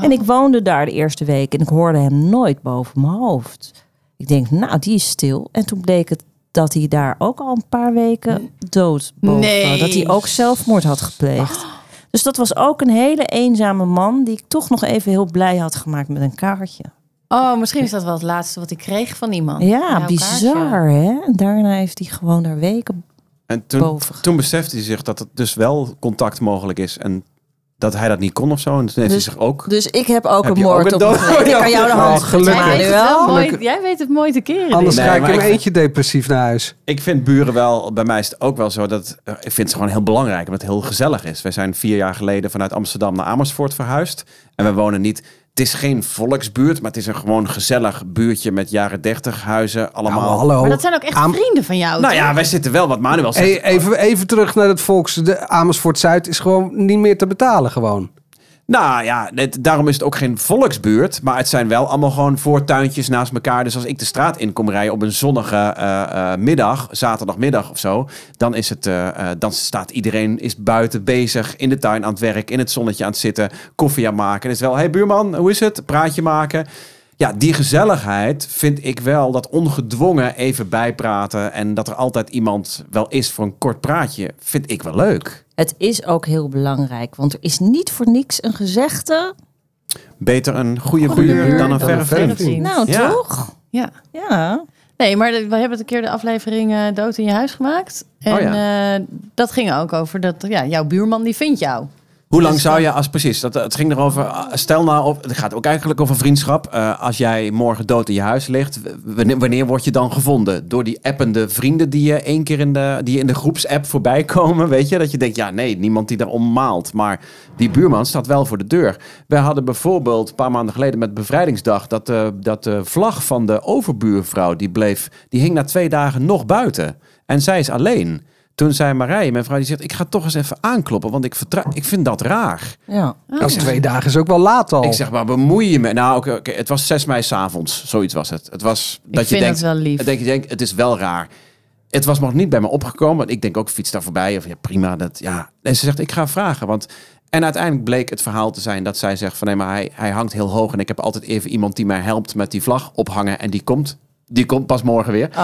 [SPEAKER 5] En ik woonde daar de eerste week en ik hoorde hem nooit boven mijn hoofd. Ik denk, nou, die is stil. En toen bleek het dat hij daar ook al een paar weken dood boven.
[SPEAKER 1] Nee.
[SPEAKER 5] Dat hij ook zelfmoord had gepleegd. Dus dat was ook een hele eenzame man... die ik toch nog even heel blij had gemaakt met een kaartje.
[SPEAKER 1] Oh, misschien is dat wel het laatste wat ik kreeg van iemand. Van
[SPEAKER 5] Ja,
[SPEAKER 1] jouw kaartje.
[SPEAKER 5] bizar hè. En daarna heeft hij gewoon daar weken.
[SPEAKER 3] En toen,
[SPEAKER 5] boven.
[SPEAKER 3] toen besefte hij zich dat het dus wel contact mogelijk is. En dat hij dat niet kon of zo. En toen heeft
[SPEAKER 5] Dus-
[SPEAKER 3] hij zich ook...
[SPEAKER 5] Dus ik heb ook
[SPEAKER 3] Heb
[SPEAKER 5] een
[SPEAKER 3] je ook
[SPEAKER 5] moord
[SPEAKER 3] een
[SPEAKER 5] op
[SPEAKER 3] dood-
[SPEAKER 5] mijn geweten. Ik kan jou de
[SPEAKER 2] Oh,
[SPEAKER 5] hand
[SPEAKER 2] gelukkig.
[SPEAKER 1] Jij
[SPEAKER 5] geven,
[SPEAKER 1] weet, het
[SPEAKER 5] Manuel.
[SPEAKER 1] wel mooi,
[SPEAKER 2] Gelukkig.
[SPEAKER 1] jij weet het mooi te keren. dus.
[SPEAKER 2] Anders
[SPEAKER 1] dit.
[SPEAKER 3] Nee,
[SPEAKER 2] ga ik
[SPEAKER 3] maar
[SPEAKER 2] in mijn
[SPEAKER 3] ik-
[SPEAKER 2] eentje depressief naar huis.
[SPEAKER 3] Ik vind buren wel, bij mij is het ook wel zo dat eh, ik vind ze gewoon heel belangrijk, omdat het heel gezellig is. Wij zijn vier jaar geleden vanuit Amsterdam naar Amersfoort verhuisd en we wonen niet. Het is geen volksbuurt, maar het is een gewoon gezellig buurtje met jaren 30 huizen allemaal.
[SPEAKER 2] Nou, hallo.
[SPEAKER 1] Maar dat zijn ook echt
[SPEAKER 2] Am-
[SPEAKER 1] vrienden van jou.
[SPEAKER 3] Nou
[SPEAKER 1] toch?
[SPEAKER 3] ja, wij zitten wel wat Manuel zegt.
[SPEAKER 2] Hey, even, even terug naar het volks. De Amersfoort Zuid is gewoon niet meer te betalen gewoon.
[SPEAKER 3] Nou ja, het- daarom is het ook geen volksbuurt. Maar het zijn wel allemaal gewoon voortuintjes naast elkaar. Dus als ik de straat in kom rijden op een zonnige eh, eh, middag, zaterdagmiddag of zo. Dan, is het, eh, eh, dan staat iedereen is buiten bezig, in de tuin aan het werk, in het zonnetje aan het zitten, koffie aan het maken. Het is wel, hey buurman, hoe is het? Praatje maken. Ja, die gezelligheid vind ik wel dat ongedwongen even bijpraten. En dat er altijd iemand wel is voor een kort praatje. Vind ik wel leuk.
[SPEAKER 5] Het is ook heel belangrijk, want er is niet voor niks een gezegde.
[SPEAKER 3] Beter een goede,
[SPEAKER 1] Goede
[SPEAKER 3] buur,
[SPEAKER 1] buur
[SPEAKER 3] dan
[SPEAKER 1] dan
[SPEAKER 3] een verre
[SPEAKER 2] een
[SPEAKER 3] vriend.
[SPEAKER 2] verre vriend.
[SPEAKER 5] Nou,
[SPEAKER 3] Ja.
[SPEAKER 5] toch?
[SPEAKER 1] Ja.
[SPEAKER 5] Ja.
[SPEAKER 1] Nee, maar de- we hebben het een keer de aflevering eh, Dood in je huis gemaakt. En
[SPEAKER 3] Oh
[SPEAKER 1] eh, dat ging ook over dat ja, jouw buurman die vindt jou.
[SPEAKER 3] Hoe lang
[SPEAKER 1] Dus
[SPEAKER 3] zou
[SPEAKER 1] dan-
[SPEAKER 3] je als precies? Dat, het ging erover. ah, Stel nou, op, het gaat ook eigenlijk over vriendschap. Eh, als jij morgen dood in je huis ligt, w- wanneer, wanneer word je dan gevonden? Door die appende vrienden die je één keer in de, die in de groepsapp voorbij komen, weet je? Dat je denkt, ja, nee, niemand die daarom maalt. Maar die buurman staat wel voor de deur. Wij hadden bijvoorbeeld een paar maanden geleden met Bevrijdingsdag dat, eh, dat de vlag van de overbuurvrouw die bleef, die hing na twee dagen nog buiten. En zij is alleen. Toen zei Marije, mijn vrouw, die zegt: Ik ga toch eens even aankloppen, want ik, vertrouw, ik vind dat raar.
[SPEAKER 5] Ja.
[SPEAKER 2] Dat is twee dagen is ook wel laat al.
[SPEAKER 3] Ik zeg maar, bemoei je me. Nou, oké, oké, het was 6 mei s'avonds. Zoiets was het. Het was dat je
[SPEAKER 1] vind
[SPEAKER 3] denkt,
[SPEAKER 1] het wel lief.
[SPEAKER 3] Dat je denkt, het is wel raar. Het was nog niet bij me opgekomen. Want ik denk ook, fiets daar voorbij. Of ja, prima. Dat, ja. En ze zegt, ik ga vragen. Want... En uiteindelijk bleek het verhaal te zijn dat zij zegt van... Nee, maar hij, hij hangt heel hoog. En ik heb altijd even iemand die mij helpt met die vlag ophangen. En die komt. Die komt pas morgen weer. Eh,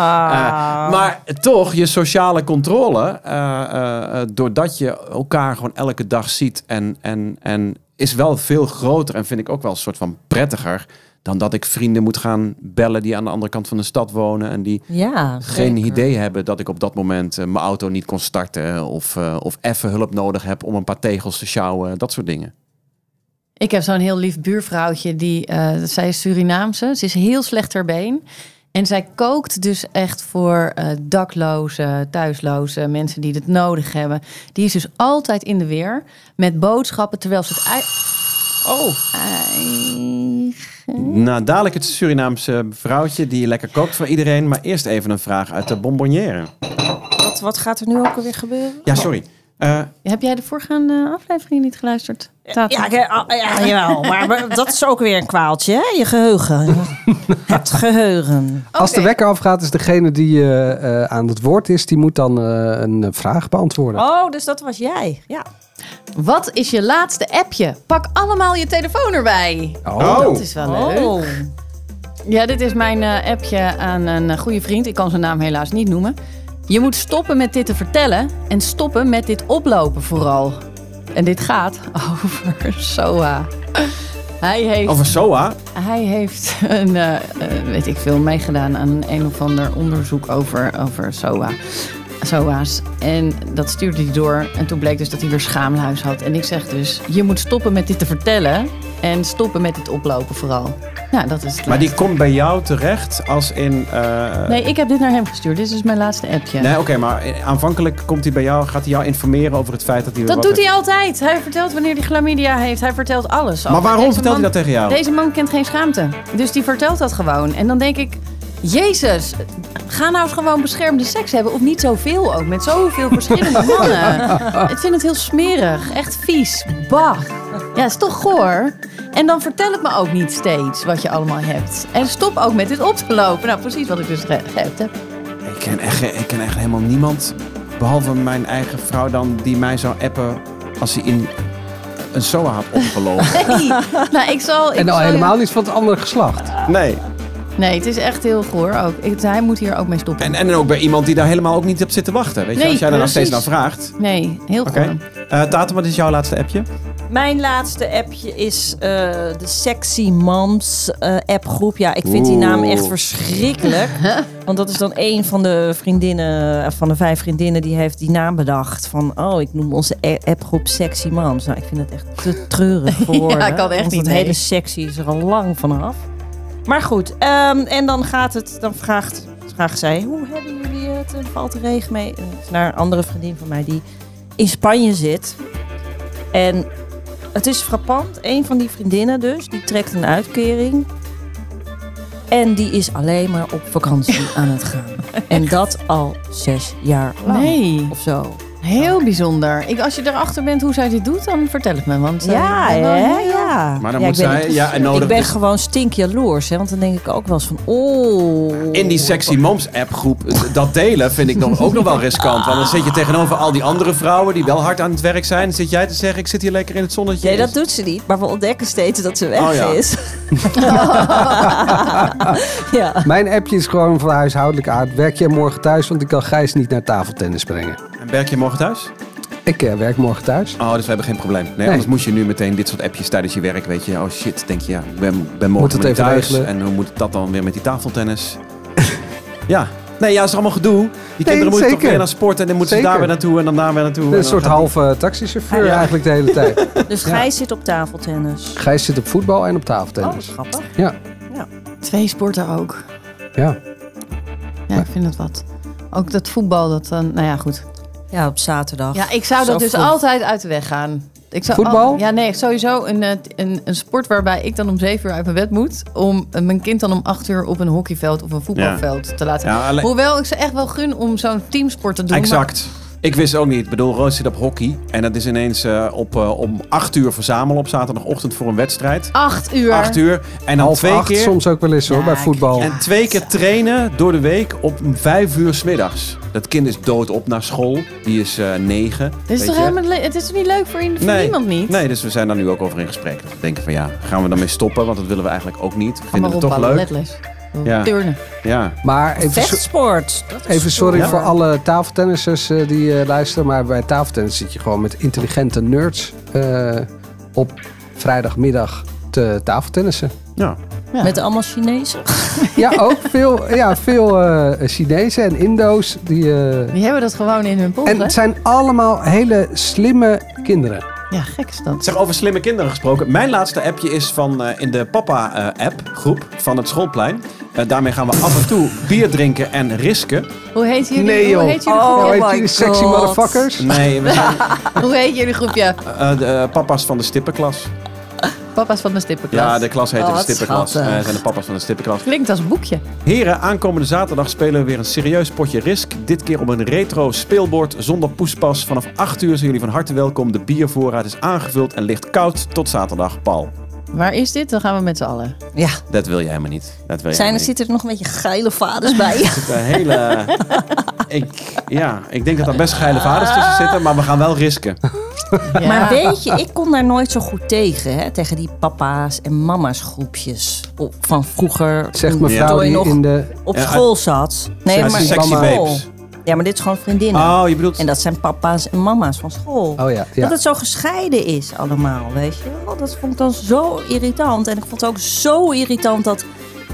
[SPEAKER 3] maar toch, je sociale controle, eh, eh, eh, doordat je elkaar gewoon elke dag ziet en, en, en is wel veel groter en vind ik ook wel een soort van prettiger dan dat ik vrienden moet gaan bellen die aan de andere kant van de stad wonen en die
[SPEAKER 5] Ja.
[SPEAKER 3] geen
[SPEAKER 5] zeker.
[SPEAKER 3] idee hebben dat ik op dat moment eh, mijn auto niet kon starten of, eh, of even hulp nodig heb om een paar tegels te sjouwen, dat soort dingen.
[SPEAKER 1] Ik heb zo'n heel lief buurvrouwtje. Die, eh, zij is Surinaamse. Ze is heel slecht ter been. En zij kookt dus echt voor eh, daklozen, thuislozen, mensen die het nodig hebben. Die is dus altijd in de weer met boodschappen terwijl ze het ei-
[SPEAKER 3] Oh. Nou, dadelijk het Surinaamse vrouwtje die lekker kookt voor iedereen, maar eerst even een vraag uit de bonbonnière.
[SPEAKER 5] Wat, wat gaat er nu ook alweer gebeuren?
[SPEAKER 3] Ja, sorry. Eh,
[SPEAKER 1] Heb jij de voorgaande aflevering niet geluisterd? Tata?
[SPEAKER 5] Ja, ik- ah, ja, jawel. Maar, maar dat is ook weer een kwaaltje, hè? Je geheugen. Het geheugen.
[SPEAKER 2] Als de
[SPEAKER 1] Oké.
[SPEAKER 2] wekker afgaat, is degene die eh, eh, aan het woord is, die moet dan eh, een eh, vraag beantwoorden.
[SPEAKER 5] Oh, dus dat was jij. Ja.
[SPEAKER 1] Wat is je laatste appje? Pak allemaal je telefoon erbij.
[SPEAKER 2] Oh.
[SPEAKER 1] Dat is wel leuk.
[SPEAKER 5] Oh.
[SPEAKER 1] Ja, dit is mijn eh, appje aan een eh, goede vriend. Ik kan zijn naam helaas niet noemen. Je moet stoppen met dit te vertellen en stoppen met dit oplopen vooral. En dit gaat over SOA. Hij heeft,
[SPEAKER 3] over SOA.
[SPEAKER 1] hij heeft een, eh, eh, weet ik veel, meegedaan aan een, een of ander onderzoek over, over SOA. SOA's. En dat stuurde hij door. En toen bleek dus dat hij weer schaamhuis had. En ik zeg dus, je moet stoppen met dit te vertellen en stoppen met dit oplopen vooral. Nou, dat is het
[SPEAKER 3] Maar
[SPEAKER 1] laatste.
[SPEAKER 3] die komt bij jou terecht als in... eh,
[SPEAKER 1] Nee, ik heb dit naar hem gestuurd. Dit is dus mijn laatste appje.
[SPEAKER 3] Nee, oké, maar aanvankelijk komt hij bij jou, gaat hij jou informeren over het feit dat hij...
[SPEAKER 1] dat
[SPEAKER 3] wat
[SPEAKER 1] doet
[SPEAKER 3] heeft.
[SPEAKER 1] hij altijd. Hij vertelt wanneer hij chlamydia heeft. Hij vertelt alles.
[SPEAKER 3] Maar
[SPEAKER 1] Over
[SPEAKER 3] waarom
[SPEAKER 1] deze
[SPEAKER 3] vertelt hij
[SPEAKER 1] man-
[SPEAKER 3] dat tegen
[SPEAKER 2] Oh.
[SPEAKER 3] jou?
[SPEAKER 1] Deze man kent geen schaamte. Dus die vertelt dat gewoon. En dan denk ik... Jezus, ga nou eens gewoon beschermde seks hebben. Of niet zoveel ook. Met zoveel verschillende mannen. Ik vind het heel smerig. Echt vies. Bah. Ja, is toch goor? En dan vertel het me ook niet steeds wat je allemaal hebt. En stop ook met dit op te lopen. Nou, precies wat ik dus ge- heb.
[SPEAKER 3] Ik ken, echt, geen- ik ken echt helemaal niemand, behalve mijn eigen vrouw dan, die mij zou appen als hij in een SOA had opgelopen.
[SPEAKER 1] Hey. Nou, ik zal... Ik
[SPEAKER 2] en al
[SPEAKER 1] zal je-
[SPEAKER 2] helemaal niet van het andere geslacht.
[SPEAKER 3] nee.
[SPEAKER 1] Nee, het is echt heel goor ook. Ik- hij moet hier ook mee stoppen.
[SPEAKER 3] En, en ook bij iemand die daar helemaal ook niet op zit te wachten. Weet je,
[SPEAKER 1] Nee,
[SPEAKER 3] als jij daar nog steeds naar
[SPEAKER 1] precies.
[SPEAKER 3] vraagt.
[SPEAKER 1] Nee, heel
[SPEAKER 3] Oké.
[SPEAKER 1] goor.
[SPEAKER 3] Eh, Tatum, wat is jouw laatste appje?
[SPEAKER 5] Mijn laatste appje is eh, de Sexy Moms eh, appgroep. Ja, ik vind die
[SPEAKER 3] Oeh.
[SPEAKER 5] naam echt verschrikkelijk. Want dat is dan een van de vriendinnen, eh, van de vijf vriendinnen, die heeft die naam bedacht. Van, oh, ik noem onze a- appgroep Sexy Moms. Nou, ik vind het echt te treurig voor woorden.
[SPEAKER 1] kan echt
[SPEAKER 5] want
[SPEAKER 1] niet,
[SPEAKER 5] Het
[SPEAKER 1] nee.
[SPEAKER 5] hele sexy is er al lang vanaf. Maar goed, ehm, en dan gaat het, dan vraagt, vraagt zij, hoe hebben jullie het? En valt de regen mee? En het is Naar een andere vriendin van mij die in Spanje zit. En het is frappant, een van die vriendinnen dus, die trekt een uitkering. En die is alleen Oh maar op vakantie aan het gaan. En dat al zes jaar lang
[SPEAKER 1] Nee.
[SPEAKER 5] of zo.
[SPEAKER 1] Heel bijzonder. Ik, als je erachter bent hoe zij dit doet, dan vertel het me. Want, eh,
[SPEAKER 5] Ja,
[SPEAKER 1] ik ben wel
[SPEAKER 5] hè?
[SPEAKER 1] heel-
[SPEAKER 5] Ja.
[SPEAKER 3] Maar dan
[SPEAKER 5] Ja,
[SPEAKER 3] moet
[SPEAKER 5] ik ben
[SPEAKER 3] zij-
[SPEAKER 5] ook-
[SPEAKER 3] ja, en nodig-
[SPEAKER 5] ik ben gewoon stinkjaloers, hè? Want dan denk ik ook wel eens van, oh.
[SPEAKER 3] In die Sexy Moms app groep eh, dat delen vind ik nog, ook nog wel riskant. Want dan zit je tegenover al die andere vrouwen die wel hard aan het werk zijn. Dan zit jij te zeggen, ik zit hier lekker in het zonnetje.
[SPEAKER 5] Nee, dat doet ze niet, maar we ontdekken steeds dat ze weg
[SPEAKER 3] Oh, ja.
[SPEAKER 5] is. ja.
[SPEAKER 2] Mijn appje is gewoon van huishoudelijk aard. Werk jij morgen thuis, want ik kan Gijs niet naar tafeltennis brengen.
[SPEAKER 3] En werk je morgen thuis?
[SPEAKER 2] Ik eh, werk morgen thuis.
[SPEAKER 3] Oh, dus we hebben geen probleem. Nee, anders moet je nu meteen dit soort appjes tijdens je werk, weet je. Oh shit, denk je, ja, ik ben, ben morgen
[SPEAKER 2] Moet het
[SPEAKER 3] weer
[SPEAKER 2] even
[SPEAKER 3] thuis.
[SPEAKER 2] regelen.
[SPEAKER 3] En hoe moet dat dan weer met die tafeltennis? ja. Nee, ja, dat is allemaal gedoen. Die kinderen moeten
[SPEAKER 2] zeker.
[SPEAKER 3] toch weer naar sport en dan moeten
[SPEAKER 2] Zeker.
[SPEAKER 3] ze daar weer naartoe en dan daar weer naartoe. en
[SPEAKER 2] Een
[SPEAKER 3] dan
[SPEAKER 2] soort
[SPEAKER 3] gaat die-
[SPEAKER 2] halve taxichauffeur
[SPEAKER 5] Ah, ja.
[SPEAKER 2] eigenlijk de hele tijd.
[SPEAKER 5] Dus Gijs zit op tafeltennis.
[SPEAKER 2] Gijs zit op voetbal en op
[SPEAKER 5] Oh,
[SPEAKER 2] tafeltennis.
[SPEAKER 5] grappig.
[SPEAKER 2] Ja,
[SPEAKER 1] Twee sporten ook.
[SPEAKER 2] ja.
[SPEAKER 1] Ja, ik vind het wat. Ook dat voetbal, dat dan... nou ja, goed.
[SPEAKER 5] Ja, op zaterdag.
[SPEAKER 1] Ja, ik zou
[SPEAKER 5] Zo
[SPEAKER 1] dat dus
[SPEAKER 5] vroeg.
[SPEAKER 1] altijd uit de weg gaan. Ik zou
[SPEAKER 2] Voetbal?
[SPEAKER 1] al- ja, nee, sowieso een, eh, een, een sport waarbij ik dan om zeven uur uit mijn bed moet... om eh, mijn kind dan om acht uur op een hockeyveld of een voetbalveld te laten.
[SPEAKER 3] Ja, alleen-
[SPEAKER 1] Hoewel ik ze echt wel gun om zo'n teamsport te doen. maar-
[SPEAKER 3] Exact. Ik wist ook niet. Ik bedoel, Roos zit op hockey. En dat is ineens eh, op, eh, om acht uur verzamelen op zaterdagochtend voor een wedstrijd.
[SPEAKER 1] Acht uur.
[SPEAKER 3] Acht uur. En dan
[SPEAKER 2] Half
[SPEAKER 3] twee
[SPEAKER 2] acht
[SPEAKER 3] keer.
[SPEAKER 2] soms ook wel eens hoor,
[SPEAKER 1] Ja,
[SPEAKER 2] bij
[SPEAKER 1] ik-
[SPEAKER 2] voetbal.
[SPEAKER 3] En twee keer trainen door de week op vijf uur smiddags. Dat kind is doodop naar school. Die is eh, negen.
[SPEAKER 1] Dit is
[SPEAKER 3] weet
[SPEAKER 1] toch
[SPEAKER 3] je.
[SPEAKER 1] helemaal, le- het is toch niet leuk voor, in- voor
[SPEAKER 3] Nee.
[SPEAKER 1] niemand niet?
[SPEAKER 3] Nee, dus we zijn daar nu ook over in gesprek. Dat we denken van ja, gaan we daarmee stoppen? Want dat willen we eigenlijk ook niet. We vinden
[SPEAKER 1] Allemaal
[SPEAKER 3] het toch
[SPEAKER 1] opbouwen,
[SPEAKER 3] leuk.
[SPEAKER 1] balletles.
[SPEAKER 3] Ja.
[SPEAKER 1] Turnen.
[SPEAKER 3] Ja.
[SPEAKER 2] Maar even, so-
[SPEAKER 5] Vechtsport. dat is
[SPEAKER 2] even sorry
[SPEAKER 5] stoer.
[SPEAKER 2] voor alle tafeltennissers eh, die eh, luisteren. Maar bij tafeltennis zit je gewoon met intelligente nerds eh, op vrijdagmiddag te tafeltennissen.
[SPEAKER 3] ja.
[SPEAKER 1] Ja.
[SPEAKER 5] Met allemaal Chinezen.
[SPEAKER 2] Ja, ook veel, ja, veel eh, Chinezen en Indo's. Die, eh,
[SPEAKER 1] Die hebben dat gewoon in hun
[SPEAKER 2] En
[SPEAKER 1] polsen.
[SPEAKER 2] het zijn allemaal hele slimme kinderen.
[SPEAKER 1] Ja, gek is dat.
[SPEAKER 3] Zeg, over slimme kinderen gesproken. Mijn laatste appje is van eh, in de papa-app, groep van het schoolplein. Eh, daarmee gaan we af en toe bier drinken en risken.
[SPEAKER 1] Hoe heet jullie,
[SPEAKER 2] Nee, joh.
[SPEAKER 1] hoe heet jullie,
[SPEAKER 5] Oh.
[SPEAKER 2] nou,
[SPEAKER 1] groepje?
[SPEAKER 2] heet
[SPEAKER 5] my
[SPEAKER 2] jullie sexy
[SPEAKER 5] God.
[SPEAKER 2] motherfuckers?
[SPEAKER 3] Nee, we zijn
[SPEAKER 1] Hoe heet jullie groepje?
[SPEAKER 3] eh, de, eh, papa's van de stippenklas.
[SPEAKER 1] Papa's van de stippenklas.
[SPEAKER 3] Ja, de klas heet
[SPEAKER 5] Oh,
[SPEAKER 3] de
[SPEAKER 5] wat
[SPEAKER 3] stippenklas. Eh
[SPEAKER 5] schattig.
[SPEAKER 3] zijn de papa's van de stippenklas.
[SPEAKER 1] Klinkt als een boekje.
[SPEAKER 3] Heren, aankomende zaterdag spelen we weer een serieus potje Risk. Dit keer op een retro speelbord zonder poespas. Vanaf 8 uur zijn jullie van harte welkom. De biervoorraad is aangevuld en ligt koud tot zaterdag. Paul,
[SPEAKER 1] Waar is dit? Dan gaan we met z'n allen.
[SPEAKER 5] Ja.
[SPEAKER 3] dat wil je helemaal niet. Dat wil je helemaal
[SPEAKER 5] Zijn er,
[SPEAKER 3] niet.
[SPEAKER 5] zitten er nog een beetje geile vaders bij?
[SPEAKER 3] Er zitten hele... ik, ja, ik denk dat er best geile vaders tussen zitten, maar we gaan wel risken.
[SPEAKER 1] Ja.
[SPEAKER 5] Maar weet je, ik kon daar nooit zo goed tegen. Hè? Tegen die papa's en mama's groepjes op- van vroeger.
[SPEAKER 2] Zegt
[SPEAKER 5] toen-
[SPEAKER 2] mevrouw
[SPEAKER 5] toen je
[SPEAKER 2] die
[SPEAKER 5] nog
[SPEAKER 2] in de...
[SPEAKER 5] op
[SPEAKER 3] Ja,
[SPEAKER 5] school zat. Nee,
[SPEAKER 3] Sexy-
[SPEAKER 5] maar
[SPEAKER 3] sexy
[SPEAKER 5] op school.
[SPEAKER 3] babes.
[SPEAKER 5] Ja, maar dit is gewoon vriendinnen.
[SPEAKER 3] Oh, je bedoelt...
[SPEAKER 5] En dat zijn papa's en mama's van school.
[SPEAKER 2] Oh ja, ja.
[SPEAKER 5] Dat het zo gescheiden is allemaal, weet je wel. Dat vond ik dan zo irritant. En ik vond het ook zo irritant dat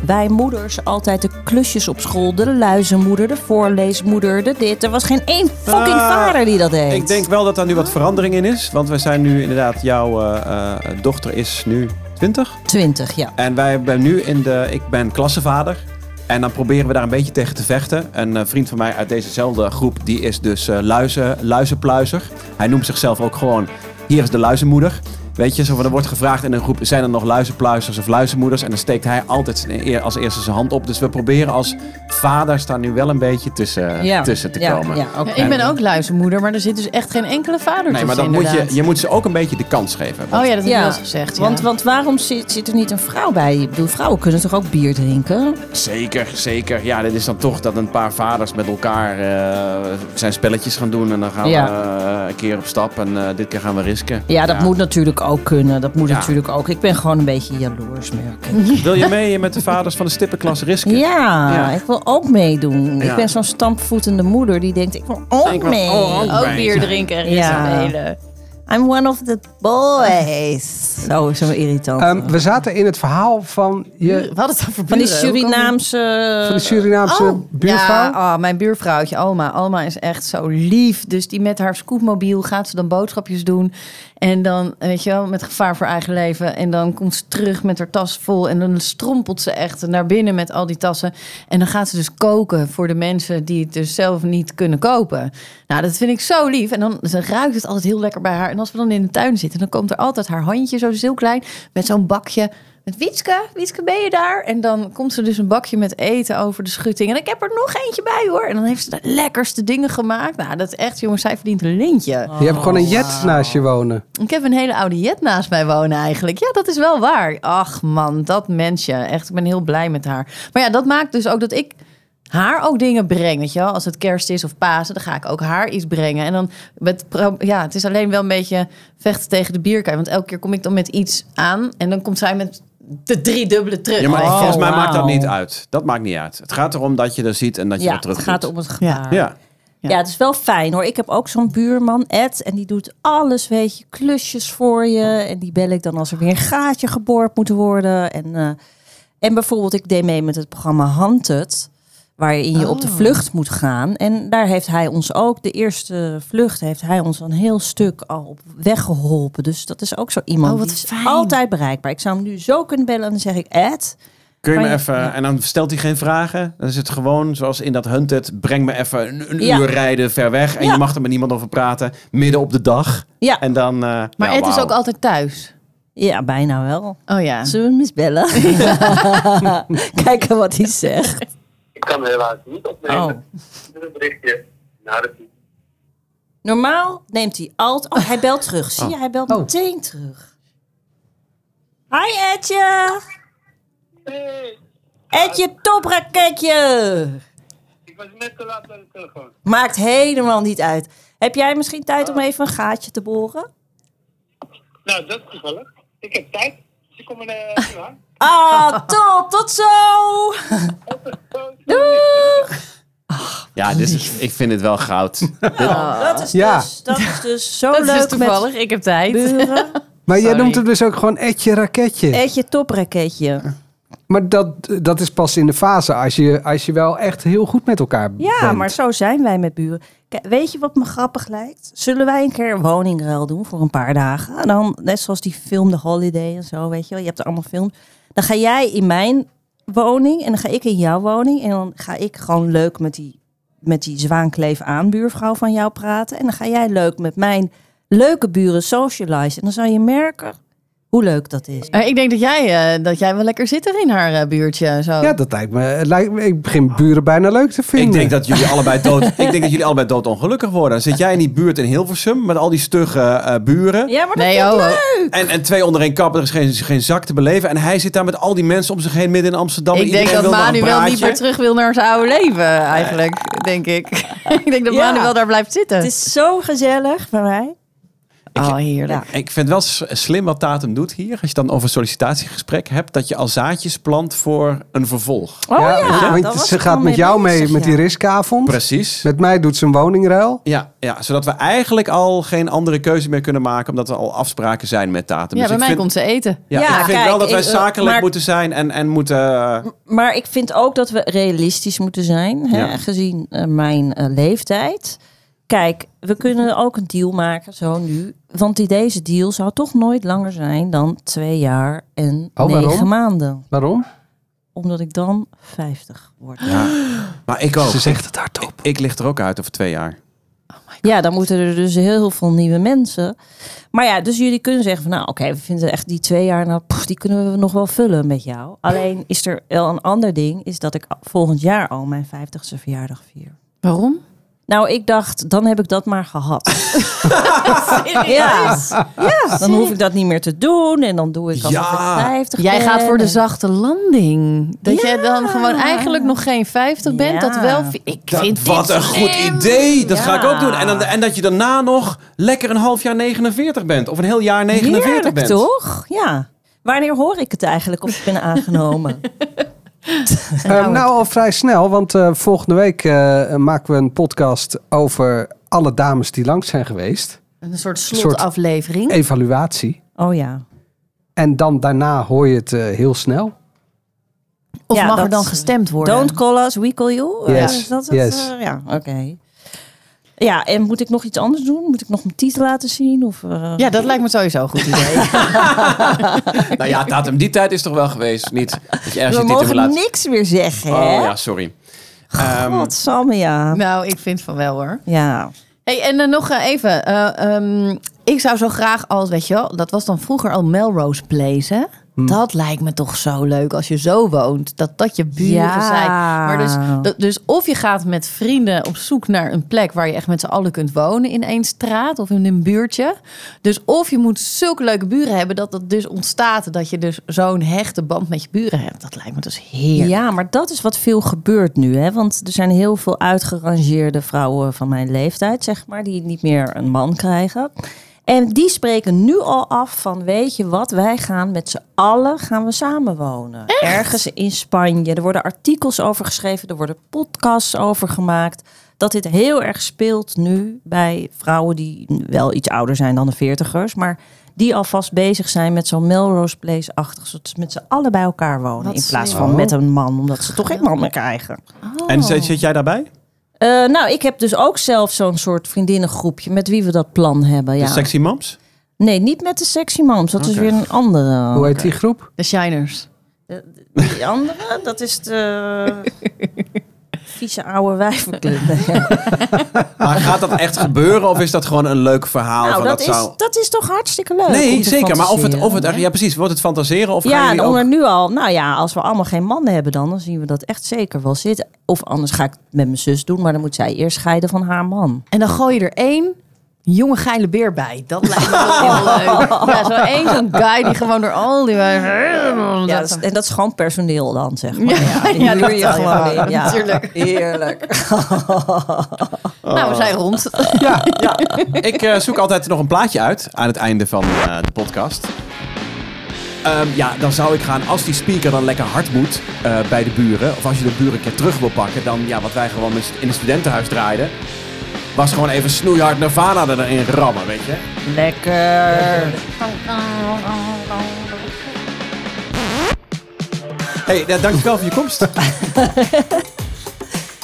[SPEAKER 5] wij moeders altijd de klusjes op school... de luizenmoeder, de voorleesmoeder, de dit... Er was geen één fucking
[SPEAKER 3] Ah,
[SPEAKER 5] vader die dat deed.
[SPEAKER 3] Ik denk wel dat daar nu wat verandering in is. Want we zijn nu inderdaad... Jouw eh, eh, dochter is nu 20?
[SPEAKER 5] Twintig, ja.
[SPEAKER 3] En wij ben nu in de. Ik ben klassenvader. En dan proberen we daar een beetje tegen te vechten. Een eh, vriend van mij uit dezezelfde groep, die is dus eh, luizen, luizenpluizer. Hij noemt zichzelf ook gewoon, hier is de luizenmoeder. Weet je, zo van, er wordt gevraagd in een groep, zijn er nog luizenpluizers of luizenmoeders? En dan steekt hij altijd zijn eer- als eerste zijn hand op. Dus we proberen als vaders daar nu wel een beetje tussen,
[SPEAKER 5] ja.
[SPEAKER 3] Eh, tussen te
[SPEAKER 5] ja,
[SPEAKER 3] komen.
[SPEAKER 5] Ja, oké.
[SPEAKER 1] Ja, ik ben ook luizenmoeder, maar er zit dus echt geen enkele vader
[SPEAKER 3] Nee, maar
[SPEAKER 1] tussen
[SPEAKER 3] dan moet je,
[SPEAKER 1] inderdaad.
[SPEAKER 3] je moet ze ook een beetje de kans geven. Want-
[SPEAKER 1] Oh ja, dat heb je
[SPEAKER 5] Ja,
[SPEAKER 1] wel eens gezegd. ja.
[SPEAKER 5] Want, want waarom zit, zit er niet een vrouw bij? Ik bedoel, vrouwen kunnen toch ook bier drinken?
[SPEAKER 3] Zeker, zeker. Ja, dit is dan toch dat een paar vaders met elkaar eh, zijn spelletjes gaan doen. En dan gaan
[SPEAKER 5] Ja.
[SPEAKER 3] we eh, een keer op stap en eh, dit keer gaan we risken.
[SPEAKER 5] Ja, dat moet natuurlijk ook kunnen. Dat moet
[SPEAKER 3] Ja.
[SPEAKER 5] natuurlijk ook. Ik ben gewoon een beetje jaloers, merk ik.
[SPEAKER 3] Wil je mee met de vaders van de stippenklas risken?
[SPEAKER 5] Ja,
[SPEAKER 3] Ja.
[SPEAKER 5] ik wil ook meedoen.
[SPEAKER 3] Ja.
[SPEAKER 5] Ik ben zo'n stampvoetende moeder die denkt, ik wil ook
[SPEAKER 3] Ik wil
[SPEAKER 5] mee.
[SPEAKER 3] ook.
[SPEAKER 1] Ook bier drinken en
[SPEAKER 5] Ja.
[SPEAKER 1] ja. spelen.
[SPEAKER 5] I'm one of the boys. Zo, zo irritant.
[SPEAKER 2] Ehm, we zaten in het verhaal van, je,
[SPEAKER 1] We hadden het over
[SPEAKER 5] van die
[SPEAKER 1] buren, hoe kan
[SPEAKER 5] Surinaamse...
[SPEAKER 2] van de Surinaamse
[SPEAKER 5] Oh,
[SPEAKER 2] buurvrouw.
[SPEAKER 1] Oh, Ja, oh, mijn buurvrouwtje Alma. Alma is echt zo lief. Dus die met haar scootmobiel gaat ze dan boodschapjes doen. En dan, weet je wel, met gevaar voor eigen leven. En dan komt ze terug met haar tas vol. En dan strompelt ze echt naar binnen met al die tassen. En dan gaat ze dus koken voor de mensen die het dus zelf niet kunnen kopen. Nou, dat vind ik zo lief. En dan, ze ruikt het altijd heel lekker bij haar. En En als we dan in de tuin zitten, dan komt er altijd haar handje zo dus heel klein met zo'n bakje. Met Witske, Witske ben je daar? En dan komt ze dus een bakje met eten over de schutting. En ik heb er nog eentje bij hoor. En dan heeft ze de lekkerste dingen gemaakt. Nou, dat is echt jongens, zij verdient een lintje.
[SPEAKER 2] Je hebt gewoon een jet
[SPEAKER 5] Oh,
[SPEAKER 2] naast je wonen.
[SPEAKER 1] Ik heb een hele oude jet naast mij wonen eigenlijk. Ja, dat is wel waar. Ach man, dat mensje. Echt, ik ben heel blij met haar. Maar ja, dat maakt dus ook dat ik haar ook dingen breng. Weet je wel? Als het kerst is of Pasen, dan ga ik ook haar iets brengen. En dan, met, pro- ja, het is alleen wel een beetje vechten tegen de bierkaai. Want elke keer kom ik dan met iets aan en dan komt zij met de driedubbele terug.
[SPEAKER 3] Ja, maar
[SPEAKER 1] Weet je wel.
[SPEAKER 3] volgens mij maakt dat
[SPEAKER 5] Oh, wauw.
[SPEAKER 3] niet uit. Dat maakt niet uit. Het gaat erom dat je er ziet en dat je
[SPEAKER 5] Ja,
[SPEAKER 3] er terug
[SPEAKER 5] het gaat
[SPEAKER 3] doet.
[SPEAKER 5] om het gebaar.
[SPEAKER 3] Ja.
[SPEAKER 1] Ja.
[SPEAKER 5] Ja. het is wel fijn hoor. Ik heb ook zo'n buurman, Ed, en die doet alles, weet je, klusjes voor je. En die bel ik dan als er weer een gaatje geboord moet worden. En, eh, en bijvoorbeeld, ik deed mee met het programma Hunted, waarin je op de
[SPEAKER 1] Oh.
[SPEAKER 5] vlucht moet gaan. En daar heeft hij ons ook, de eerste vlucht, heeft hij ons een heel stuk al op weg geholpen. Dus dat is ook zo iemand
[SPEAKER 1] Oh, wat
[SPEAKER 5] die is
[SPEAKER 1] fijn.
[SPEAKER 5] altijd bereikbaar. Ik zou hem nu zo kunnen bellen en dan zeg ik, Ed,
[SPEAKER 3] Kun je me
[SPEAKER 5] Kan je-
[SPEAKER 3] even... En dan stelt hij geen vragen. Dan is het gewoon zoals in dat Hunted. Breng me even een, een
[SPEAKER 5] Ja.
[SPEAKER 3] uur rijden ver weg. En
[SPEAKER 5] Ja.
[SPEAKER 3] je mag er met niemand over praten. Midden op de dag.
[SPEAKER 5] ja,
[SPEAKER 3] En dan... eh,
[SPEAKER 1] Maar
[SPEAKER 3] ja,
[SPEAKER 1] het is
[SPEAKER 3] wauw.
[SPEAKER 1] ook altijd thuis.
[SPEAKER 5] ja bijna wel.
[SPEAKER 1] Oh ja.
[SPEAKER 5] Zullen we hem eens bellen? Kijken wat hij zegt.
[SPEAKER 6] Ik kan helaas niet opnemen.
[SPEAKER 5] Oh.
[SPEAKER 6] Stuur een berichtje naar de fiets.
[SPEAKER 5] Normaal neemt hij altijd... Oh, hij belt terug. Zie je, hij belt meteen terug. Hi Edje!
[SPEAKER 6] Hey,
[SPEAKER 5] Edje topraketje!
[SPEAKER 6] ik was net te laat aan de telefoon.
[SPEAKER 5] Maakt helemaal niet uit. Heb jij misschien tijd om even een gaatje te boren?
[SPEAKER 6] Nou, dat is toevallig. Ik heb tijd. Dus ik kom in eh, uur aan.
[SPEAKER 5] Ah, top! Tot zo! Doeg!
[SPEAKER 3] Ja, dit is, ik vind het wel goud.
[SPEAKER 5] Dat is,
[SPEAKER 2] Ja.
[SPEAKER 5] dus, dat is dus zo
[SPEAKER 1] Dat is
[SPEAKER 5] leuk
[SPEAKER 1] dus toevallig. Ik heb tijd.
[SPEAKER 5] met buren.
[SPEAKER 2] Maar jij
[SPEAKER 1] Sorry.
[SPEAKER 2] noemt het dus ook gewoon etje raketje.
[SPEAKER 5] Edje topraketje.
[SPEAKER 2] Maar dat, dat is pas in de fase als je, als je wel echt heel goed met elkaar
[SPEAKER 5] Ja,
[SPEAKER 2] bent.
[SPEAKER 5] maar zo zijn wij met buren. Kijk, weet je wat me grappig lijkt? Zullen wij een keer een woningruil doen voor een paar dagen? En dan, net zoals die film The Holiday en zo, weet je wel. Je hebt er allemaal films. Dan ga jij in mijn woning en dan ga ik in jouw woning. En dan ga ik gewoon leuk met die, met die zwaankleef aan buurvrouw van jou praten. En dan ga jij leuk met mijn leuke buren socialize. En dan zal je merken hoe leuk dat is.
[SPEAKER 1] Maar ik denk dat jij, eh, dat jij wel lekker zit er in haar eh, buurtje. Zo.
[SPEAKER 2] Ja, dat lijkt me, het lijkt me- Ik begin buren bijna leuk te vinden.
[SPEAKER 3] Ik denk dat jullie allebei dood. ik denk dat jullie allebei doodongelukkig worden. Dan zit jij in die buurt in Hilversum met al die stugge eh, buren.
[SPEAKER 5] Ja, maar dat
[SPEAKER 1] Nee,
[SPEAKER 5] vind ik
[SPEAKER 1] oh, oh.
[SPEAKER 5] leuk.
[SPEAKER 3] En, en twee onder één kap, er is geen, geen zak te beleven. En hij zit daar met al die mensen om zich heen midden in Amsterdam.
[SPEAKER 1] Ik
[SPEAKER 3] Oh, Iedereen
[SPEAKER 1] denk dat
[SPEAKER 3] wil nog een
[SPEAKER 1] Manuel
[SPEAKER 3] praatje.
[SPEAKER 1] niet meer terug wil naar zijn oude leven, eigenlijk, denk ik. ik denk dat
[SPEAKER 5] Ja.
[SPEAKER 1] Manuel daar blijft zitten.
[SPEAKER 5] Het is zo gezellig bij mij.
[SPEAKER 1] oh, heerlijk.
[SPEAKER 5] Ja.
[SPEAKER 3] Ik vind het wel s- slim wat Tatum doet hier. Als je dan over sollicitatiegesprek hebt, dat je al zaadjes plant voor een vervolg.
[SPEAKER 5] Oh ja, daar
[SPEAKER 2] want
[SPEAKER 5] was
[SPEAKER 2] ze
[SPEAKER 5] ik
[SPEAKER 2] gaat
[SPEAKER 5] al
[SPEAKER 2] met jou mee
[SPEAKER 5] bezig,
[SPEAKER 2] met die
[SPEAKER 5] ja.
[SPEAKER 2] riskavond.
[SPEAKER 3] Precies.
[SPEAKER 2] Met mij doet ze een woningruil.
[SPEAKER 3] Ja, ja, zodat we eigenlijk al geen andere keuze meer kunnen maken, omdat er al afspraken zijn met Tatum.
[SPEAKER 1] Ja,
[SPEAKER 3] Dus
[SPEAKER 1] bij
[SPEAKER 3] ik
[SPEAKER 1] mij
[SPEAKER 3] vind-
[SPEAKER 1] komt ze eten.
[SPEAKER 3] Ja,
[SPEAKER 5] Ja,
[SPEAKER 3] ik vind
[SPEAKER 5] kijk,
[SPEAKER 3] wel dat wij
[SPEAKER 5] ik, eh,
[SPEAKER 3] zakelijk
[SPEAKER 5] maar-
[SPEAKER 3] moeten zijn en, en moeten... eh,
[SPEAKER 5] Maar ik vind ook dat we realistisch moeten zijn, hè,
[SPEAKER 3] Ja.
[SPEAKER 5] gezien eh, mijn eh, leeftijd. Kijk, we kunnen ook een deal maken, zo nu. Want die, deze deal zou toch nooit langer zijn dan twee jaar en
[SPEAKER 2] Oh,
[SPEAKER 5] negen
[SPEAKER 2] waarom?
[SPEAKER 5] maanden.
[SPEAKER 3] Oh,
[SPEAKER 2] Waarom?
[SPEAKER 5] Omdat ik dan 50 word. Ja,
[SPEAKER 3] ja. Maar ik ook.
[SPEAKER 2] Ze zegt het hardop.
[SPEAKER 3] Ik lig er ook uit over twee jaar.
[SPEAKER 5] dan moeten er dus heel veel nieuwe mensen. Maar ja, dus jullie kunnen zeggen van nou oké, we vinden echt die twee jaar, nou, pff, die kunnen we nog wel vullen met jou. Alleen is er wel een ander ding, is dat ik volgend jaar al mijn 50ste verjaardag vier.
[SPEAKER 1] Waarom?
[SPEAKER 5] Nou, ik dacht, dan heb ik dat maar gehad. ja. ja, dan hoef ik dat niet meer te doen. En dan doe ik alsof
[SPEAKER 3] Ja.
[SPEAKER 5] ik 50
[SPEAKER 1] Jij
[SPEAKER 5] ben.
[SPEAKER 1] gaat voor de
[SPEAKER 5] En-
[SPEAKER 1] zachte landing. Eh, Dat jij dan gewoon eigenlijk nog geen 50 bent. Dat
[SPEAKER 5] Ja.
[SPEAKER 1] wel. vi- Ik vind dit
[SPEAKER 3] wat een goed
[SPEAKER 1] slim.
[SPEAKER 3] idee. Dat ga
[SPEAKER 5] Ja.
[SPEAKER 3] ik ook doen. En, dan, en dat je daarna nog lekker een half jaar 49 bent. Of een heel jaar 49
[SPEAKER 5] Heerlijk,
[SPEAKER 3] bent.
[SPEAKER 5] toch? Ja. Wanneer hoor ik het eigenlijk of ik ben aangenomen?
[SPEAKER 2] Eh, nou, al vrij snel, want eh, volgende week eh, maken we een podcast over alle dames die langs zijn geweest.
[SPEAKER 1] Een soort
[SPEAKER 2] soort-
[SPEAKER 1] slotaflevering.
[SPEAKER 2] Evaluatie.
[SPEAKER 5] Oh ja.
[SPEAKER 2] En dan daarna hoor je het eh, heel snel.
[SPEAKER 1] Of
[SPEAKER 5] Ja,
[SPEAKER 1] mag er
[SPEAKER 5] dat-
[SPEAKER 1] dan gestemd worden?
[SPEAKER 5] Don't call us, we call you.
[SPEAKER 2] Yes,
[SPEAKER 5] Eh, is dat het?
[SPEAKER 2] yes.
[SPEAKER 5] Eh, ja, oké. Ja, en moet ik nog iets anders doen? Moet ik nog mijn titel laten zien? Of, eh,
[SPEAKER 1] Ja, dat lijkt me sowieso een goed idee.
[SPEAKER 3] Nou ja, datum die tijd is toch wel geweest. Niet dat je ergens
[SPEAKER 5] We
[SPEAKER 3] je titel
[SPEAKER 5] mogen
[SPEAKER 3] laat.
[SPEAKER 5] niks meer zeggen,
[SPEAKER 3] Oh
[SPEAKER 5] hè?
[SPEAKER 3] ja, sorry. Ehm,
[SPEAKER 5] Godsamme, ja.
[SPEAKER 1] nou, ik vind van wel hoor.
[SPEAKER 5] Ja.
[SPEAKER 1] Hey, en dan nog eh, even. eh, ehm, Ik zou zo graag als, weet je wel, dat was dan vroeger al Melrose Place, hè?
[SPEAKER 5] Hm.
[SPEAKER 1] Dat lijkt me toch zo leuk als je zo woont. Dat dat je buren
[SPEAKER 5] Ja.
[SPEAKER 1] zijn. Maar dus, dat- dus of je gaat met vrienden op zoek naar een plek waar je echt met z'n allen kunt wonen in één straat of in een buurtje. Dus of je moet zulke leuke buren hebben dat dat dus ontstaat dat je dus zo'n hechte band met je buren hebt. Dat lijkt me dus heerlijk.
[SPEAKER 5] Ja, maar dat is wat veel gebeurt nu. Hè? Want er zijn heel veel uitgerangeerde vrouwen van mijn leeftijd, zeg maar, die niet meer een man krijgen. En die spreken nu al af van, weet je wat, wij gaan met z'n allen gaan we samenwonen. Ergens in Spanje. Er worden artikels over geschreven, er worden podcasts over gemaakt. Dat dit heel erg speelt nu bij vrouwen die wel iets ouder zijn dan de veertigers. Maar die alvast bezig zijn met zo'n Melrose Place-achtig. Zodat ze met z'n allen bij elkaar wonen.
[SPEAKER 1] Wat
[SPEAKER 5] in plaats
[SPEAKER 1] slim.
[SPEAKER 5] van met een man, omdat ze toch geen man meer krijgen. Oh.
[SPEAKER 3] En zit, zit jij daarbij?
[SPEAKER 5] Eh, nou, ik heb dus ook zelf zo'n soort vriendinnengroepje met wie we dat plan hebben.
[SPEAKER 3] De
[SPEAKER 5] Ja.
[SPEAKER 3] sexy moms?
[SPEAKER 5] Nee, niet met de sexy moms. Dat is
[SPEAKER 3] Oké.
[SPEAKER 5] weer een andere.
[SPEAKER 2] Hoe heet die groep?
[SPEAKER 1] De Shiners.
[SPEAKER 5] Die andere, dat is de vieze oude wijvenclub. Nee, ja.
[SPEAKER 3] Maar gaat dat echt gebeuren of is dat gewoon een leuk verhaal?
[SPEAKER 5] nou,
[SPEAKER 3] van
[SPEAKER 5] dat,
[SPEAKER 3] dat, zou...
[SPEAKER 5] is, dat is toch hartstikke leuk. om
[SPEAKER 3] Nee,
[SPEAKER 5] te
[SPEAKER 3] zeker. Maar of het, of het,
[SPEAKER 5] fantaseren,
[SPEAKER 3] echt- ja, precies. Wordt het fantaseren of gaan
[SPEAKER 5] Ja, en
[SPEAKER 3] jullie
[SPEAKER 5] onder
[SPEAKER 3] ook...
[SPEAKER 5] nu al. Nou ja, als we allemaal geen mannen hebben dan, dan zien we dat echt zeker wel zitten. Of anders ga ik het met mijn zus doen, maar dan moet zij eerst scheiden van haar man.
[SPEAKER 1] En dan gooi je er één jonge geile beer bij. Dat lijkt me wel heel leuk. Ja, zo één zo'n guy die gewoon door al die... Ja,
[SPEAKER 5] Ja, dat is- en dat is gewoon personeel dan, zeg maar.
[SPEAKER 1] Ja,
[SPEAKER 5] Ja, die
[SPEAKER 1] ja,
[SPEAKER 5] huur
[SPEAKER 1] dat
[SPEAKER 5] je
[SPEAKER 1] wel,
[SPEAKER 5] gewoon
[SPEAKER 1] ja,
[SPEAKER 5] in. Ja,
[SPEAKER 1] natuurlijk.
[SPEAKER 5] Heerlijk.
[SPEAKER 1] Nou, we zijn rond.
[SPEAKER 3] Ja, ja. Ik eh, zoek altijd nog een plaatje uit aan het einde van eh, de podcast. Ehm, ja, dan zou ik gaan, als die speaker dan lekker hard moet eh, bij de buren... of als je de buren een keer terug wil pakken... dan ja, wat wij gewoon met st- in het studentenhuis draaiden... was gewoon even snoeihard Nirvana erin rammen, weet je.
[SPEAKER 5] Lekker.
[SPEAKER 3] hey, nou, dankjewel voor je komst.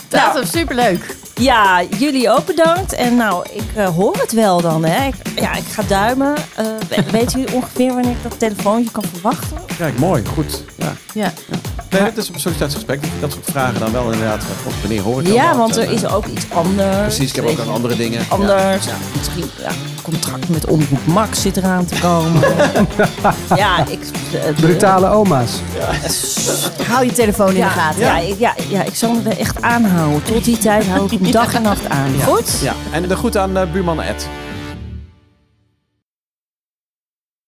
[SPEAKER 1] Dat was superleuk.
[SPEAKER 5] Ja, jullie ook bedankt. En nou, ik eh, hoor het wel dan, hè. Ik, ja, ik ga duimen. Eh, we- weten jullie ongeveer wanneer ik dat telefoontje kan verwachten?
[SPEAKER 3] Kijk, mooi, goed. Ja.
[SPEAKER 1] Ja.
[SPEAKER 3] Nee, dit is een sollicitatiegesprek. Dat je dat soort vragen dan wel inderdaad... eh, Of wanneer hoor ik dat
[SPEAKER 5] Ja,
[SPEAKER 3] dan?
[SPEAKER 5] want
[SPEAKER 3] En,
[SPEAKER 5] er is
[SPEAKER 3] eh,
[SPEAKER 5] ook iets anders.
[SPEAKER 3] Precies, ik heb ook
[SPEAKER 5] Weet
[SPEAKER 3] aan
[SPEAKER 5] je,
[SPEAKER 3] andere dingen. Ja.
[SPEAKER 5] Anders. Ja, misschien ja, een contract met Omroep Max zit eraan te komen. ja, ik... eh,
[SPEAKER 2] Brutale oma's.
[SPEAKER 1] Hou je telefoon in de
[SPEAKER 5] Ja,
[SPEAKER 1] gaten.
[SPEAKER 5] ja, ik, ja, ja, ik zal me er echt aanhouden. Tot die tijd hou ik hem dag en nacht aan. Goed?
[SPEAKER 3] Ja, en de groet aan eh, buurman Ed.